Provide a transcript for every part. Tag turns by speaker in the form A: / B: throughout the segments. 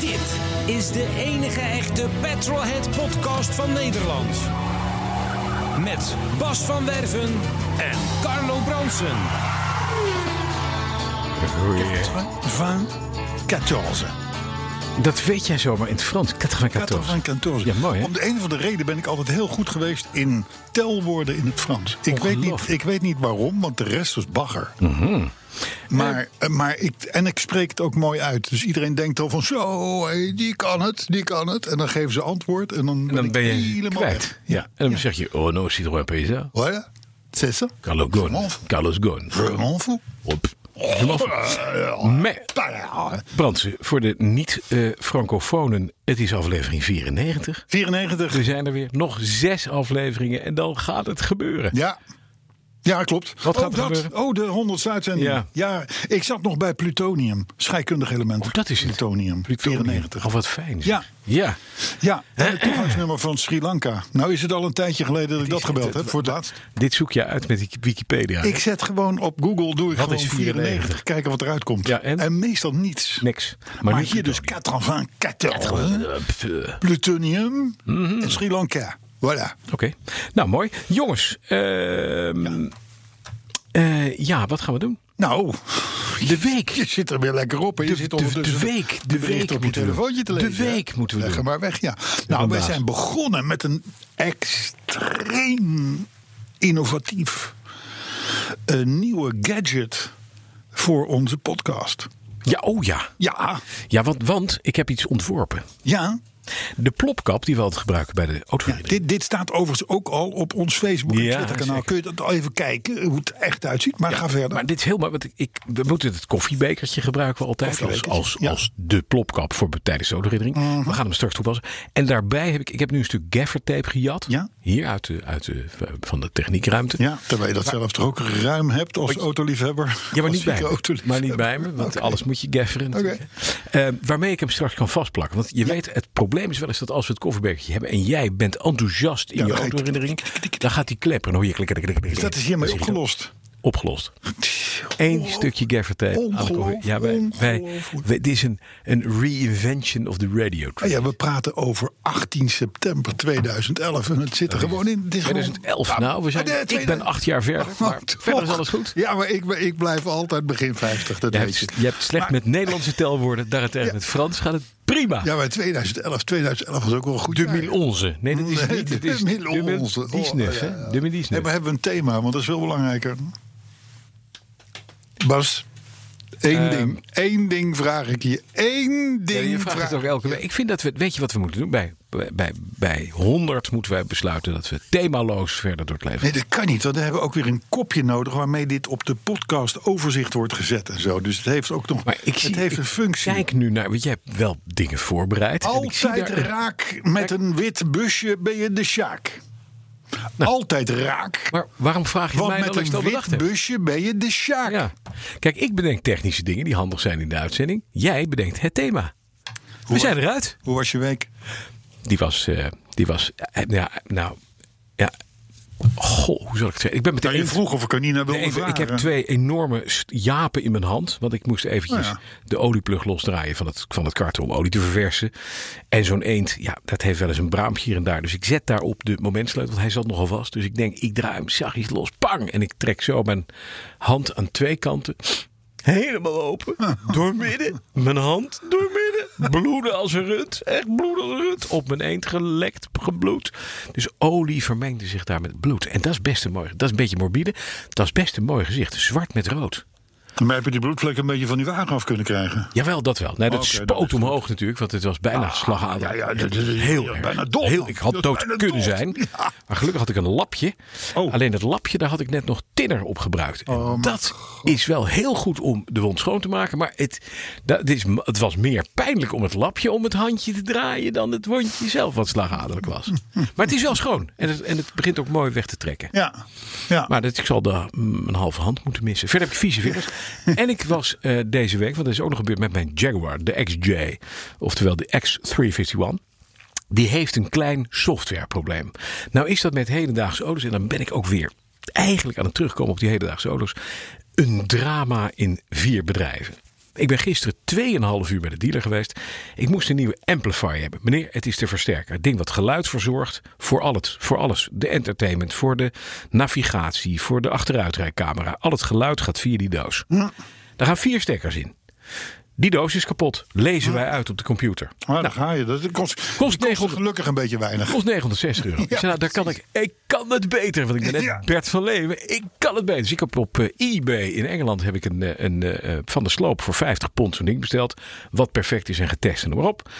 A: Dit is de enige echte Petrolhead podcast van Nederland. Met Bas van Werven en Carlo Bronsen.
B: van 14.
C: Dat weet jij zomaar in het Frans. 94.
B: 14.
C: Ja, mooi hè?
B: Om de een of de reden ben ik altijd heel goed geweest in telwoorden in het Frans. Ik weet, niet,
C: Ongelooflijk. Mhm.
B: ik weet niet waarom, want de rest was bagger. Maar, eh, maar ik, en ik spreek het ook mooi uit. Dus iedereen denkt al van zo, hé, die kan het, die kan het. En dan geven ze antwoord en dan,
C: En dan ben je
B: helemaal
C: kwijt.
B: weg. Oh
C: Ja. En dan zeg je, oh no, Citroën Pesa.
B: Hoor je? C'est ça?
C: Carlos Ghosn. Carlos Ghosn.
B: Vraiment fou.
C: Op. Helemaal goed. Maar, Brandsen, voor de niet-francofonen, het is aflevering 94.
B: 94.
C: Er zijn er weer nog zes afleveringen en dan gaat het gebeuren.
B: Ja. Ja, klopt.
C: Wat gaat
B: oh,
C: er
B: dat,
C: gebeuren?
B: Oh, de 100 uitzending.
C: Ja.
B: Ja. ik zat nog bij plutonium. Scheikundig element.
C: Oh, dat is het.
B: plutonium.
C: Plutonium.
B: 94.
C: Oh, wat fijn. zeg.
B: Ja.
C: Ja.
B: Ja, en het toegangsnummer van Sri Lanka. Nou is het al een tijdje geleden dat ik dat gebeld heb voor het laatst.
C: Dit zoek je uit met die Wikipedia. hè?
B: Ik zet gewoon op Google, doe ik
C: Wat
B: gewoon
C: is
B: 94,
C: 94?
B: kijken wat eruit komt.
C: Ja, en?
B: meestal niets.
C: Niks.
B: Maar,
C: nu
B: hier dus
C: plutonium.
B: 94,
C: Eh, pff, eh.
B: plutonium
C: Mhm.
B: en Sri Lanka. Voilà.
C: Oké, nou mooi. Jongens, ehm, eh, ja, wat gaan we doen?
B: Nou,
C: De week.
B: je zit er weer lekker op. En je
C: De-
B: zit
C: de-
B: ondertussen
C: de week, de
B: berichten
C: week
B: op je
C: moeten we
B: telefoontje te
C: doen.
B: lezen.
C: De week
B: hè?
C: moeten we
B: Leg hem
C: doen.
B: maar weg, ja. Nou, wij
C: vandaag.
B: zijn begonnen met een extreem innovatief een nieuwe gadget voor onze podcast.
C: Ja, oh ja.
B: Ja,
C: Ja, want, want ik heb iets ontworpen.
B: ja.
C: De plopkap die we altijd gebruiken bij de
B: ja
C: autoverdeling.
B: dit, dit staat overigens ook al op ons Facebook en
C: Ja,
B: Twitter-kanaal.
C: zeker.
B: Kun je dat al even kijken hoe het echt uitziet? Maar ga verder.
C: Maar dit is heel mooi, want ik, ik- we moeten het koffiebekertje gebruiken we altijd als,
B: Koffiebekertje,
C: als,
B: ja. Mhm.
C: als de plopkap voor be- tijdens de autoherinnering. We gaan hem straks toepassen. En daarbij heb ik, ik heb nu een stuk gaffertape gejat.
B: Ja.
C: Hier uit de, uit de, van de techniekruimte.
B: ja, terwijl je dat zelf toch ook ruim hebt als autoliefhebber.
C: Ja, maar
B: Als
C: niet, bij me.
B: autoliefhebber.
C: maar niet bij me, want alles moet je gafferen. natuurlijk, hè. Eh, waarmee ik hem straks kan vastplakken. Want je weet, het probleem is wel eens dat als we het kofferbergje hebben... en jij bent enthousiast in
B: Ja,
C: je
B: dan ga je
C: autoherinnering... dan gaat die kleppen. En dan hoor je klikken, klikken, klikken,
B: Dus dat is
C: klikken.
B: hiermee
C: Dan zeg je dan,
B: opgelost.
C: Opgelost. Eén stukje gaffertape. aan de
B: Ongelooflijk,
C: koffer. Ja, wij, wij,
B: ongelooflijk.
C: wij- dit is een, een reinvention of the radio
B: Ah
C: track.
B: Ja, we praten over 18 september 2011 en het zit er gewoon in. Het is gewoon-
C: 2011
B: Ja,
C: nou, we zijn,
B: ah, nee,
C: ik ben
B: 2011.
C: acht jaar verder, maar
B: Toch.
C: verder is alles goed.
B: Ja, maar ik, ben- ik blijf altijd begin 50, dat
C: Je
B: weet
C: hebt,
B: je.
C: je hebt slecht met Nederlandse telwoorden, daarentegen met Frans gaat het prima.
B: Ja, maar 2011, 2011 was ook wel een goed.
C: De
B: jaar.
C: mil onze. Nee, dat is
B: Nee,
C: niet. Het
B: de
C: is
B: mil onze.
C: De mil Disney,
B: Oh, ja,
C: hè?
B: ja.
C: De mil Disney.
B: Nee, maar hebben we een thema, want dat is veel belangrijker. Bas, één
C: Ehm.
B: ding. Eén ding vraag ik je. Eén
C: Ja,
B: ding
C: je vraagt het ook elke week. Ik vind dat we, weet je wat we moeten doen? Bij, bij, bij 100 moeten wij besluiten dat we themaloos verder door het leven.
B: Nee, dat kan niet, want we hebben ook weer een kopje nodig waarmee dit op de podcast overzicht wordt gezet en zo. Dus het heeft ook nog.
C: Maar ik zie,
B: het heeft
C: ik
B: een functie.
C: Kijk nu naar, want je hebt wel dingen voorbereid. En ik zie
B: Altijd
C: daar een-
B: raak met een wit busje ben je de Sjaak. Altijd raak.
C: Nou. Maar waarom vraag je
B: Want
C: mij
B: met
C: dan als ik
B: een
C: dat bedacht
B: wit
C: heb?
B: busje ben je de Sjaak.
C: Ja. Kijk, ik bedenk technische dingen die handig zijn in de uitzending. Jij bedenkt het thema. We zijn eruit.
B: Hoe was je week?
C: Die was, eh, die was eh, ja, nou, ja. Goh, hoe zal ik het zeggen? Ik ben meteen.
B: Nou, je vroeg of ik er niet naar wilde
C: Nee, ik- ik
B: vragen.
C: heb twee enorme st- japen in mijn hand. Want ik moest eventjes
B: Nou
C: de olieplug losdraaien van het, van het karton om olie te verversen. En zo'n eend, ja, dat heeft wel eens een braampje hier en daar. Dus ik zet daarop de momentsleutel, want hij zat nogal vast. Dus ik denk, ik draai hem zachtjes los. Pang! En ik trek zo mijn hand aan twee kanten. Helemaal open. Doormidden. Mijn hand doormidden. Bloeden als een rund. Echt bloeden als een rund. Op mijn eend gelekt, gebloed. Dus olie vermengde zich daar met bloed. En dat is best een mooi. Dat is een beetje morbide. Dat is best een mooi gezicht. Zwart met rood.
B: Maar heb je die bloedvlek een beetje van die wagen af kunnen krijgen?
C: Jawel, dat wel. Nee, dat
B: Oké,
C: spoot
B: dat is
C: omhoog natuurlijk, want het was bijna slagader.
B: ja, ja, dat is-
C: heel
B: ja,
C: erg.
B: bijna dood.
C: Heel, ik had
B: Dat is
C: dood
B: bijna
C: kunnen
B: dood.
C: zijn.
B: Ja.
C: Maar gelukkig had ik een lapje.
B: Oh.
C: Alleen dat lapje, daar had ik net nog tinner op gebruikt. En dat is wel heel goed om de wond schoon te maken. Maar het, dat, dit is, m- het was meer pijnlijk om het lapje om het handje te draaien... dan het wondje zelf wat slagaderlijk was. maar het is wel schoon. En het, en het begint ook mooi weg te trekken.
B: Ja. ja.
C: Maar dat, ik zal daar mm, een halve hand moeten missen. Verder heb ik vieze vingers. en ik was eh, deze week, want dat is ook nog gebeurd met mijn Jaguar, de XJ. Oftewel de X351. Die heeft een klein softwareprobleem. Nou is dat met hedendaagse auto's. En dan ben ik ook weer eigenlijk aan het terugkomen op die hedendaagse auto's. Een drama in vier bedrijven. Ik ben gisteren 2,5 uur bij de dealer geweest. Ik moest een nieuwe amplifier hebben. Meneer, het is de versterker. Het ding wat geluid verzorgt voor, al het, voor alles. De entertainment, voor de navigatie, voor de achteruitrijcamera. Al het geluid gaat via die doos. Daar gaan vier stekkers in. Die doos is kapot. Lezen wij uit op de computer. Nou,
B: Maar daar ga je. Dat kost, kost
C: 900
B: gelukkig een beetje weinig.
C: Kost 960 euro. ik zei, nou, daar kan ik, ik kan het beter. Want ik ben net
B: Ja.
C: Bert van Leeuwen. Ik kan het beter. Dus ik heb op eh, eBay in Engeland heb ik een, eh, een eh, eh, van de sloop voor 50 pond zo'n ding besteld. Wat perfect is en getest en noem maar op.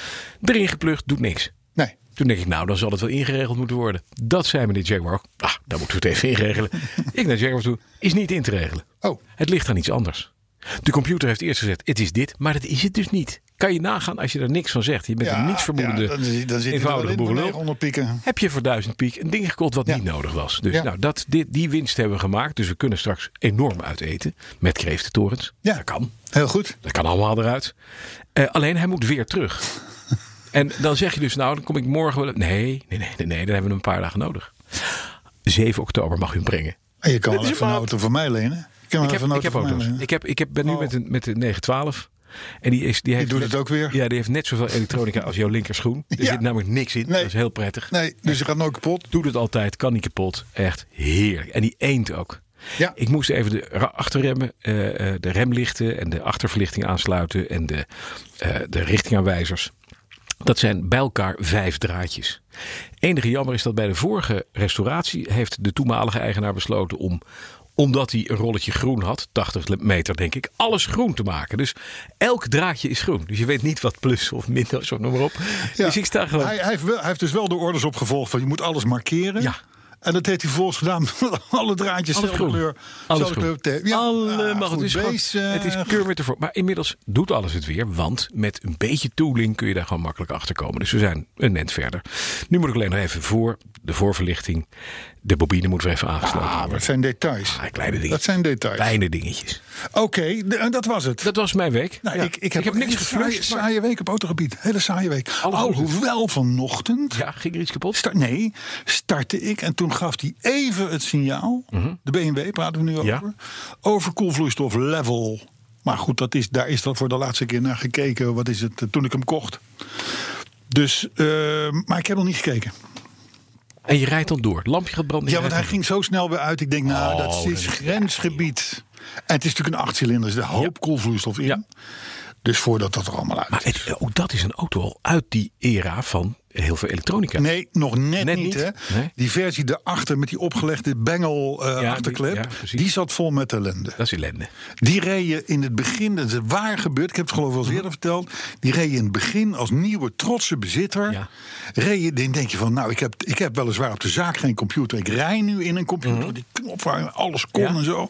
C: Erin geplucht, doet niks.
B: Nee.
C: Toen denk ik, nou, dan zal het wel ingeregeld moeten worden. Dat zei meneer Jaguar ook. Ah, daar moeten we het even inregelen. ik naar Jaguar toe, is niet in te regelen.
B: Oh.
C: Het ligt aan iets anders. De computer heeft eerst gezegd, het is dit, maar dat is het dus niet. Kan je nagaan als je daar niks van zegt. Je bent
B: Ja,
C: een nietsvermoedende,
B: ja, dan zit- dan zit hij er wel
C: eenvoudige
B: in voor
C: boerenlul.
B: 900 pieken.
C: Heb je voor duizend piek een ding gekocht wat niet nodig was. Dus
B: eh, Ja.
C: nou, dat, dit, die winst hebben we gemaakt. Dus we kunnen straks enorm uiteten met kreeftentorens.
B: Ja.
C: Dat kan.
B: Heel goed.
C: Dat kan allemaal eruit. Eh, alleen hij moet weer terug. en dan zeg je dus, nou, dan kom ik morgen wel... Nee, nee, nee, nee, nee, dan hebben we een paar dagen nodig. 7 oktober mag u hem brengen.
B: En Ah, je kan wel
C: is
B: even een
C: maat.
B: auto van mij lenen. Ik, kan wel
C: Ik
B: even
C: heb,
B: een
C: ik heb
B: auto Ah, van mij
C: auto's.
B: lenen.
C: Ik, heb, ik heb, ben nu
B: Oh.
C: met een met de 912. En die, is, die, heeft
B: doet
C: net-
B: het ook weer.
C: Ja, die heeft net zoveel elektronica als jouw linkerschoen. Er
B: Ja.
C: zit namelijk niks in.
B: Nee.
C: Dat is heel prettig.
B: Nee, dus je gaat nooit kapot.
C: Doet het altijd, kan niet kapot. Echt heerlijk. En die eend ook.
B: Ja.
C: Ik moest even de ra- achterremmen, eh, eh, de remlichten en de achterverlichting aansluiten en de, eh, de richtingaanwijzers. Dat zijn bij elkaar vijf draadjes. Enige jammer is dat bij de vorige restauratie heeft de toenmalige eigenaar besloten om omdat hij een rolletje groen had, 80 meter denk ik, alles groen te maken. Dus elk draadje is groen. Dus je weet niet wat plus of min is of noem maar op.
B: Ja.
C: Dus ik sta gewoon...
B: Hij, hij, heeft wel, hij heeft dus wel de orders opgevolgd van je moet alles markeren.
C: Ja.
B: En dat heeft hij volgens gedaan. Alle draadjes,
C: Alles
B: dezelfde
C: groen.
B: kleur.
C: Alles
B: dezelfde
C: groen.
B: kleur. Ja, ah,
C: Allemaal.
B: goed
C: het, is gewoon-
B: bezig.
C: het is Kermit ervoor. Maar inmiddels doet alles het weer. Want met een beetje tooling kun je daar gewoon makkelijk achter komen. Dus we zijn een net verder. Nu moet ik alleen nog even voor de voorverlichting. De bobine moet weer even aangesloten
B: Ah, dat
C: worden.
B: zijn details.
C: Ah, kleine
B: Dat
C: dingetjes.
B: zijn details.
C: Kleine dingetjes.
B: Oké, de- en dat was het.
C: Dat was mijn week.
B: Nou,
C: Ja.
B: ik, ik, heb
C: niks
B: een hele
C: geflusht.
B: Saaie,
C: maar-
B: saaie week op autogebied. Hele saaie week.
C: Alles goed.
B: Alhoewel vanochtend.
C: Ja, ging er iets kapot?
B: Start, nee, startte ik en toen gaf hij even het signaal. De BMW praten we nu over.
C: Mhm. Ja.
B: Over koelvloeistof level. Maar goed, dat is, daar is dat voor de laatste keer naar gekeken. Wat is het eh, toen ik hem kocht? Dus, eh, maar ik heb nog niet gekeken.
C: En je rijdt dan door. Het lampje gaat branden.
B: Ja,
C: je
B: want hij
C: rijdt
B: ging zo snel weer uit. Ik denk, nou,
C: Oh,
B: dat is
C: dat-
B: grensgebied. En het is natuurlijk een achtcilinder, er zit een hoop koelvloeistof in.
C: Ja.
B: Dus voordat dat er allemaal uit
C: door. Maar
B: is.
C: het, ook dat is een auto al uit die era van heel veel elektronica.
B: Nee, nog net,
C: Net
B: niet.
C: niet?
B: Hè?
C: Nee.
B: Die versie daarachter met die opgelegde bengel eh,
C: die-
B: achterklep.
C: ja,
B: die,
C: precies.
B: zat vol met ellende.
C: Dat is ellende.
B: Die reed je in het begin, dat is waar gebeurd, ik heb het geloof ik al eens
C: Mhm.
B: eerder verteld. Die reed je in het begin als nieuwe trotse bezitter.
C: Ja.
B: Reed je, dan denk je van, nou, ik heb, ik heb weliswaar op de zaak geen computer. Ik rij nu in een computer, die knop waar alles kon
C: Mhm. Ja.
B: en zo.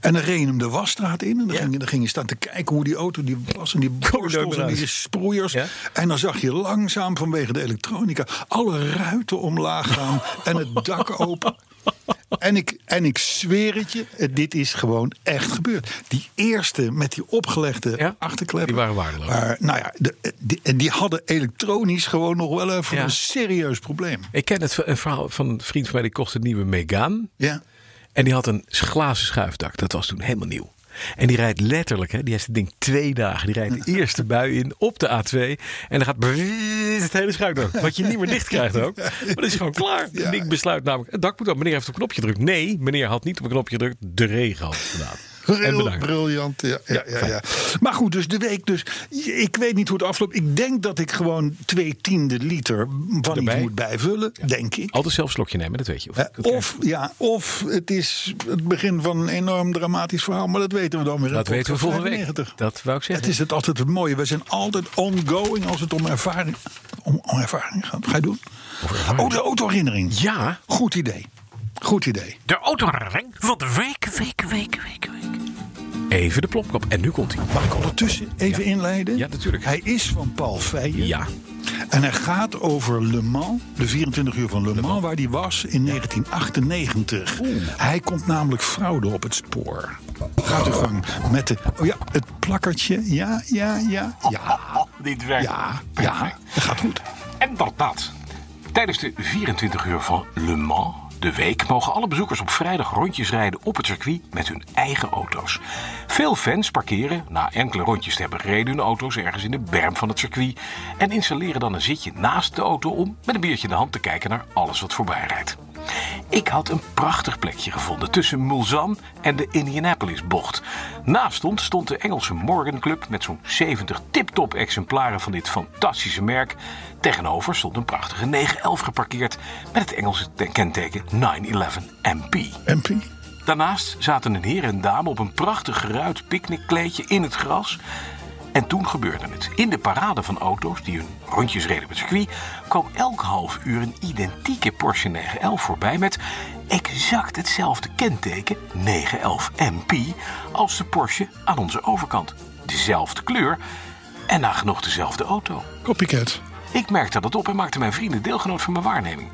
B: En dan reed je hem de wasstraat in. En dan, ging, je, dan ging je staan te kijken hoe die auto, die was en die
C: nooit
B: borstels
C: meer
B: en die
C: uit.
B: sproeiers.
C: Ja.
B: En dan zag je langzaam vanwege de elektronica alle ruiten omlaag gaan en het dak open. En ik, en ik zweer het je, het- dit is gewoon echt gebeurd. Die eerste met die opgelegde
C: Ja,
B: achterkleppen.
C: die waren waardeloos.
B: Maar, nou ja, de, die, en die hadden elektronisch gewoon nog wel even
C: Ja.
B: een serieus probleem.
C: Ik ken het een verhaal van een vriend van mij. Die kocht een nieuwe Megane.
B: Ja.
C: En die had een glazen schuifdak. Dat was toen helemaal nieuw. En die rijdt letterlijk, hè, die heeft het ding twee dagen. Die rijdt de eerste bui in op de A2. En dan gaat brrrr het hele schuifdak. Wat je niet meer dicht krijgt ook. Maar dat is gewoon klaar.
B: Ja.
C: Het ding besluit namelijk, het dak moet op. Meneer heeft op een knopje gedrukt. Nee, meneer had niet op een knopje gedrukt. De regen had het gedaan. En
B: Heel
C: bedankt.
B: briljant. Ja, ja, ja, ja. Maar goed, dus de week. Dus, ik weet niet hoe het afloopt. Ik denk dat ik gewoon twee tiende liter van
C: Erbij. Oh,
B: iets moet bijvullen. Denk ik.
C: Altijd zelf een slokje nemen, dat weet je. Of,
B: Eh, Of, ja, of het is het begin van een enorm dramatisch verhaal. Maar dat weten we dan weer. in
C: dat weten we
B: podcast
C: volgende week.
B: 95.
C: Dat wou ik
B: Het
C: zeggen.
B: is het altijd het mooie. We zijn altijd ongoing als het om ervaring, om, om ervaring gaat. Ga je doen?
C: ervaring.
B: Oh, de autoherinnering.
C: Ja.
B: Goed idee. Goed idee.
C: De autorering van de week, week, week, week, week. Even de plopkap. En nu komt hij.
B: Mag ik ondertussen even inleiden?
C: Ja, natuurlijk.
B: Hij is van Paul Feijen.
C: Ja.
B: En hij gaat over Le Mans, de 24 uur van Le Mans, waar hij was in 1998. Hij komt namelijk fraude op het spoor. Gaat u gang met de. Oh ja, het plakkertje. Ja, ja, ja. Ja,
C: Dit werkt.
B: ja, ja. Dat gaat goed.
C: En dat dat. Tijdens de 24 uur van Le Mans, de week, mogen alle bezoekers op vrijdag rondjes rijden op het circuit met hun eigen auto's. Veel fans parkeren, na enkele rondjes te hebben gereden, hun auto's ergens in de berm van het circuit. En installeren dan een zitje naast de auto om met een biertje in de hand te kijken naar alles wat voorbij rijdt. Ik had een prachtig plekje gevonden tussen Mulsanne en de Indianapolis-bocht. Naast ons stond de Engelse Morgan Club met zo'n 70 tip-top exemplaren van dit fantastische merk. Tegenover stond een prachtige 911 geparkeerd met het Engelse te- kenteken 911 MP.
B: MP?
C: Daarnaast zaten een heer en dame op een prachtig geruit picknickkleedje in het gras. En toen gebeurde het. In de parade van auto's die hun rondjes reden op het circuit... kwam elk half uur een identieke Porsche 911 voorbij met exact hetzelfde kenteken 911 MP... als de Porsche aan onze overkant. Dezelfde kleur en nagenoeg dezelfde auto.
B: Copycat.
C: Ik merkte dat op en maakte mijn vrienden deelgenoot van mijn waarneming.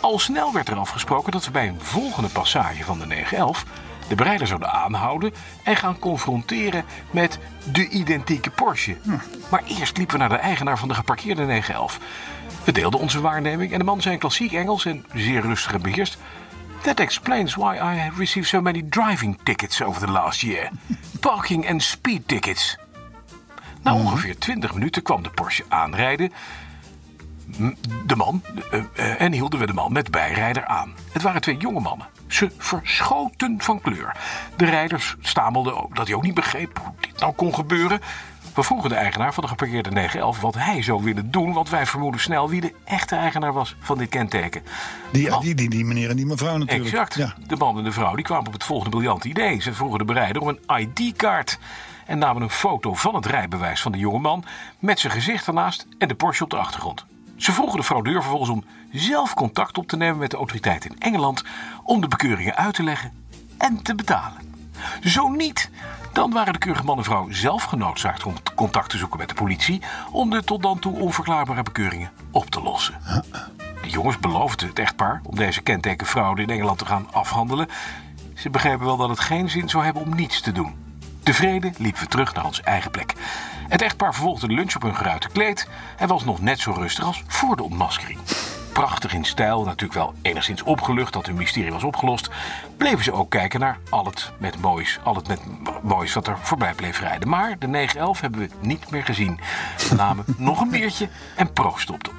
C: Al snel werd er afgesproken dat we bij een volgende passage van de 911 de bereider zouden aanhouden en gaan confronteren met de identieke Porsche. Maar eerst liepen we naar de eigenaar van de geparkeerde 911. We deelden onze waarneming en de man zei in klassiek Engels en zeer rustig en beheerst. That explains why I have received so many driving tickets over the last year. Parking and speed tickets. Na ongeveer 20 minuten kwam de Porsche aanrijden de man eh, eh, en hielden we de man met bijrijder aan. Het waren twee jonge mannen. Ze verschoten van kleur. De rijders stamelden ook dat hij ook niet begreep hoe dit nou kon gebeuren. We vroegen de eigenaar van de geparkeerde 911 wat hij zou willen doen, want wij vermoeden snel wie de echte eigenaar was van dit kenteken.
B: Die,
C: De man-
B: die, die, die meneer en die mevrouw natuurlijk.
C: Exact.
B: Ja.
C: De man en de vrouw die kwamen op het volgende briljante idee. Ze vroegen de bereider om een ID-kaart. En namen een foto van het rijbewijs van de jongeman. met zijn gezicht ernaast en de Porsche op de achtergrond. Ze vroegen de fraudeur vervolgens om zelf contact op te nemen met de autoriteit in Engeland. om de bekeuringen uit te leggen en te betalen. Zo niet, dan waren de keurige man en vrouw zelf genoodzaakt om contact te zoeken met de politie. om de tot dan toe onverklaarbare bekeuringen op te lossen. De jongens beloofden het echtpaar om deze kentekenfraude in Engeland te gaan afhandelen. Ze begrepen wel dat het geen zin zou hebben om niets te doen. Tevreden liepen we terug naar onze eigen plek. Het echtpaar vervolgde de lunch op hun geruite kleed en was nog net zo rustig als voor de ontmaskering. Prachtig in stijl, natuurlijk wel enigszins opgelucht dat hun mysterie was opgelost, bleven ze ook kijken naar al het met moois, al het met moois wat er voorbij bleef rijden. Maar de 911 hebben we niet meer gezien. We namen nog een biertje en proosten op de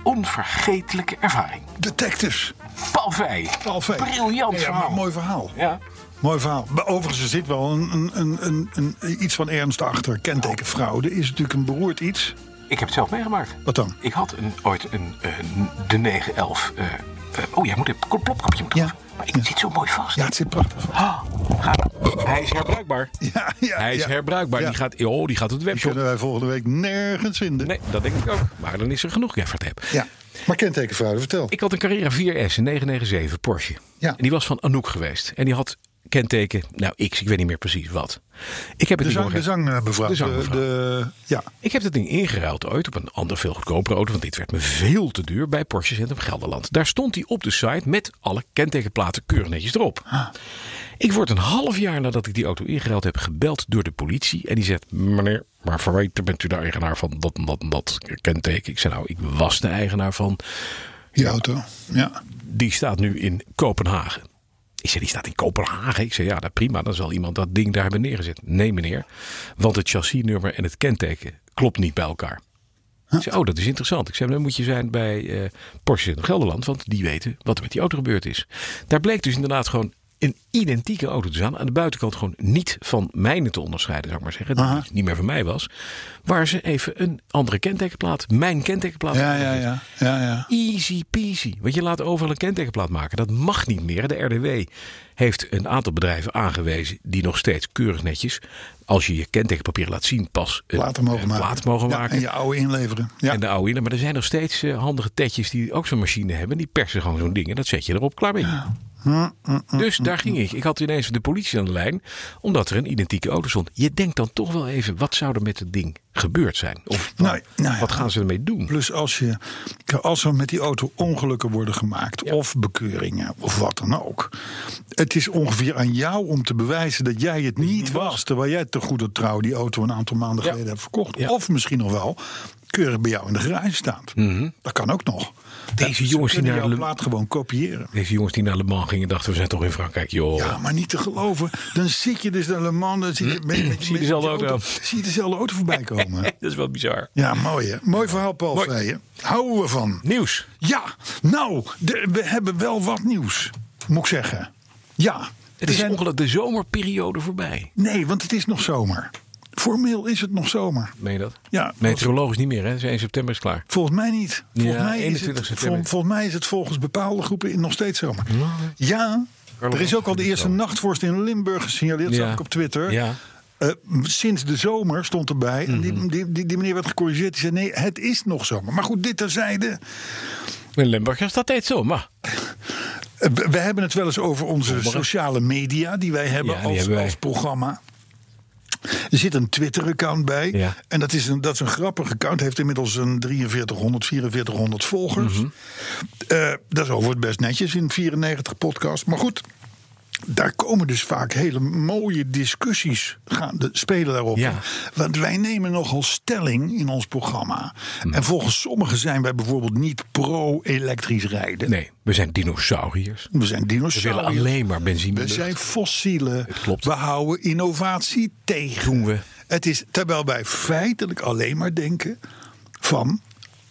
C: onvergetelijke ervaring.
B: Detectives.
C: Paul Vey.
B: Paul Veen.
C: Briljant
B: Ja,
C: verhaal.
B: maar Mooi verhaal.
C: Ja.
B: Mooi verhaal. Maar Overigens, er zit wel een, een, een, een, een- iets van ernst achter. Kentekenfraude is natuurlijk een beroerd iets.
C: Ik heb het zelf meegemaakt.
B: Wat dan?
C: Ik had een, ooit een, eh, de 911. eh, eh, oh, jij moet een plopkapje moeten
B: Ja.
C: af. Maar ik zit zo mooi vast.
B: Ja, het zit prachtig.
C: Ah, ga- Hij is herbruikbaar.
B: Ja, ja,
C: Hij is
B: ja.
C: herbruikbaar.
B: Ja.
C: Die, gaat, oh, die gaat op de
B: Die
C: webshop.
B: kunnen wij volgende week nergens vinden.
C: Nee, dat denk ik ook. Maar dan is er genoeg effort heb.
B: Ja. Maar kentekenfraude, vertel.
C: Ik had een Carrera 4S, een 997 Porsche.
B: Ja.
C: En die was van Anouk geweest. En die had kenteken, nou X, ik weet niet meer precies wat. Ik heb het
B: de
C: niet
B: zang, de
C: doorge-
B: zang eh, mevrouw.
C: De zangmevrouw.
B: de- ja.
C: Ik heb dat ding ingeruild ooit op een ander veel goedkopere auto. Want dit werd me veel te duur bij Porsche Centrum Gelderland. Daar stond hij op de site met alle kentekenplaten keurig netjes erop.
B: Ah.
C: Ik word een half jaar nadat ik die auto ingeruild heb gebeld door de politie. En die zegt, meneer, maar verwijter bent u de eigenaar van dat en dat en dat kenteken? Ik zei, nou, ik was de eigenaar van.
B: Die auto. Ja.
C: Die staat nu in Kopenhagen. Ik zei, die staat in Kopenhagen. Ik zei, ja, nou, prima, dan zal iemand dat ding daar hebben neergezet. Nee, meneer, want het chassisnummer en het kenteken klopt niet bij elkaar. Ik zei, oh, dat is interessant. Ik zei, dan moet je zijn bij eh Porsche in Gelderland, want die weten wat er met die auto gebeurd is. Daar bleek dus inderdaad gewoon een identieke auto te staan. Aan de buitenkant gewoon niet van mijne te onderscheiden, zou ik maar zeggen. Die niet meer van mij was. Waar ze even een andere kentekenplaat, mijn kentekenplaat.
B: Ja, ja, ja. ja, ja.
C: Easy peasy. Want je laat overal een kentekenplaat maken. Dat mag niet meer. De RDW heeft een aantal bedrijven aangewezen die nog steeds keurig netjes, als je je kentekenpapier laat zien, pas een
B: Platen mogen
C: een
B: maken.
C: plaat mogen
B: Ja,
C: maken.
B: en je oude inleveren. Ja.
C: En de oude in. Maar er zijn nog steeds eh, handige tetjes die ook zo'n machine hebben. Die persen gewoon zo'n ding en dat zet je erop. Klaar mee. Dus daar ging ik. Ik had ineens de politie aan de lijn, omdat er een identieke auto stond. Je denkt dan toch wel even, wat zou er met het ding gebeurd zijn? Of wa-
B: Nou, nou ja.
C: wat gaan ze ermee doen?
B: Plus als, je, als er met die auto ongelukken worden gemaakt, of bekeuringen, of wat dan ook. Het is ongeveer aan jou om te bewijzen dat jij het niet was. Terwijl jij te goede trouw die auto een aantal maanden geleden hebt verkocht.
C: Ja.
B: Of misschien nog wel keurig bij jou in de garage staat. Dat kan ook nog.
C: Mhm. Deze
B: Ja, ze
C: jongens die
B: kunnen jouw
C: naar de-
B: plaat gewoon kopiëren.
C: Deze jongens die naar Le Mans gingen dachten, we zijn toch in Frankrijk. Joh,
B: Ja, maar niet te geloven. Dan zit je dus naar Le Mans. Dan zie je, met, met- met-
C: dezelfde
B: met-
C: auto.
B: Zie je dezelfde auto voorbij komen.
C: dat is wel bizar.
B: Ja, mooi hè. Mooi verhaal, Paul.
C: Mooi.
B: zei je. Houden we van.
C: Nieuws.
B: Ja, nou, de- we hebben wel wat nieuws, moet ik zeggen. Ja,
C: Het
B: er
C: is
B: zijn-
C: ongelooflijk de zomerperiode voorbij.
B: Nee, want het is nog zomer. Formeel is het nog zomer.
C: Meen je dat?
B: Ja,
C: Meteorologisch niet meer, hè? Dus 1 september is klaar.
B: Volgens mij niet. Volgens,
C: Ja,
B: mij, is
C: 21
B: het, vol-
C: september. Nou,
B: volgens mij is het volgens bepaalde groepen nog steeds zomer. Ja,
C: Carlo
B: er is ook al de eerste
C: Zomer.
B: nachtvorst in Limburg gesignaleerd,
C: Ja.
B: zag ik op Twitter.
C: Ja. Mhm.
B: Eh, m- sinds de zomer stond erbij. En die, die, die, die meneer werd gecorrigeerd. Die zei: nee, het is nog zomer. Maar goed, dit terzijde.
C: In Limburg is dat steeds zo, maar...
B: Eh, We we hebben het wel eens over onze
C: Sombere.
B: sociale media die wij hebben,
C: Ja, die
B: als,
C: hebben wij.
B: als programma. Er zit een Twitter-account bij.
C: Ja.
B: En dat is, een, dat is een grappig account. Heeft inmiddels een 4300, 4400 volgers.
C: Mhm.
B: Eh, dat is overigens best netjes in 94 podcast. Maar goed, daar komen dus vaak hele mooie discussies gaan de, spelen daarop.
C: Ja.
B: Want wij nemen nogal stelling in ons programma.
C: Mhm.
B: En volgens sommigen zijn wij bijvoorbeeld niet pro-elektrisch rijden.
C: Nee, we zijn dinosauriërs.
B: We zijn
C: We willen
B: dinosauriërs.
C: alleen maar benzine.
B: We zijn fossielen.
C: Het klopt.
B: We houden innovatie tegen.
C: Doen we.
B: Het is terwijl wij feitelijk alleen maar denken van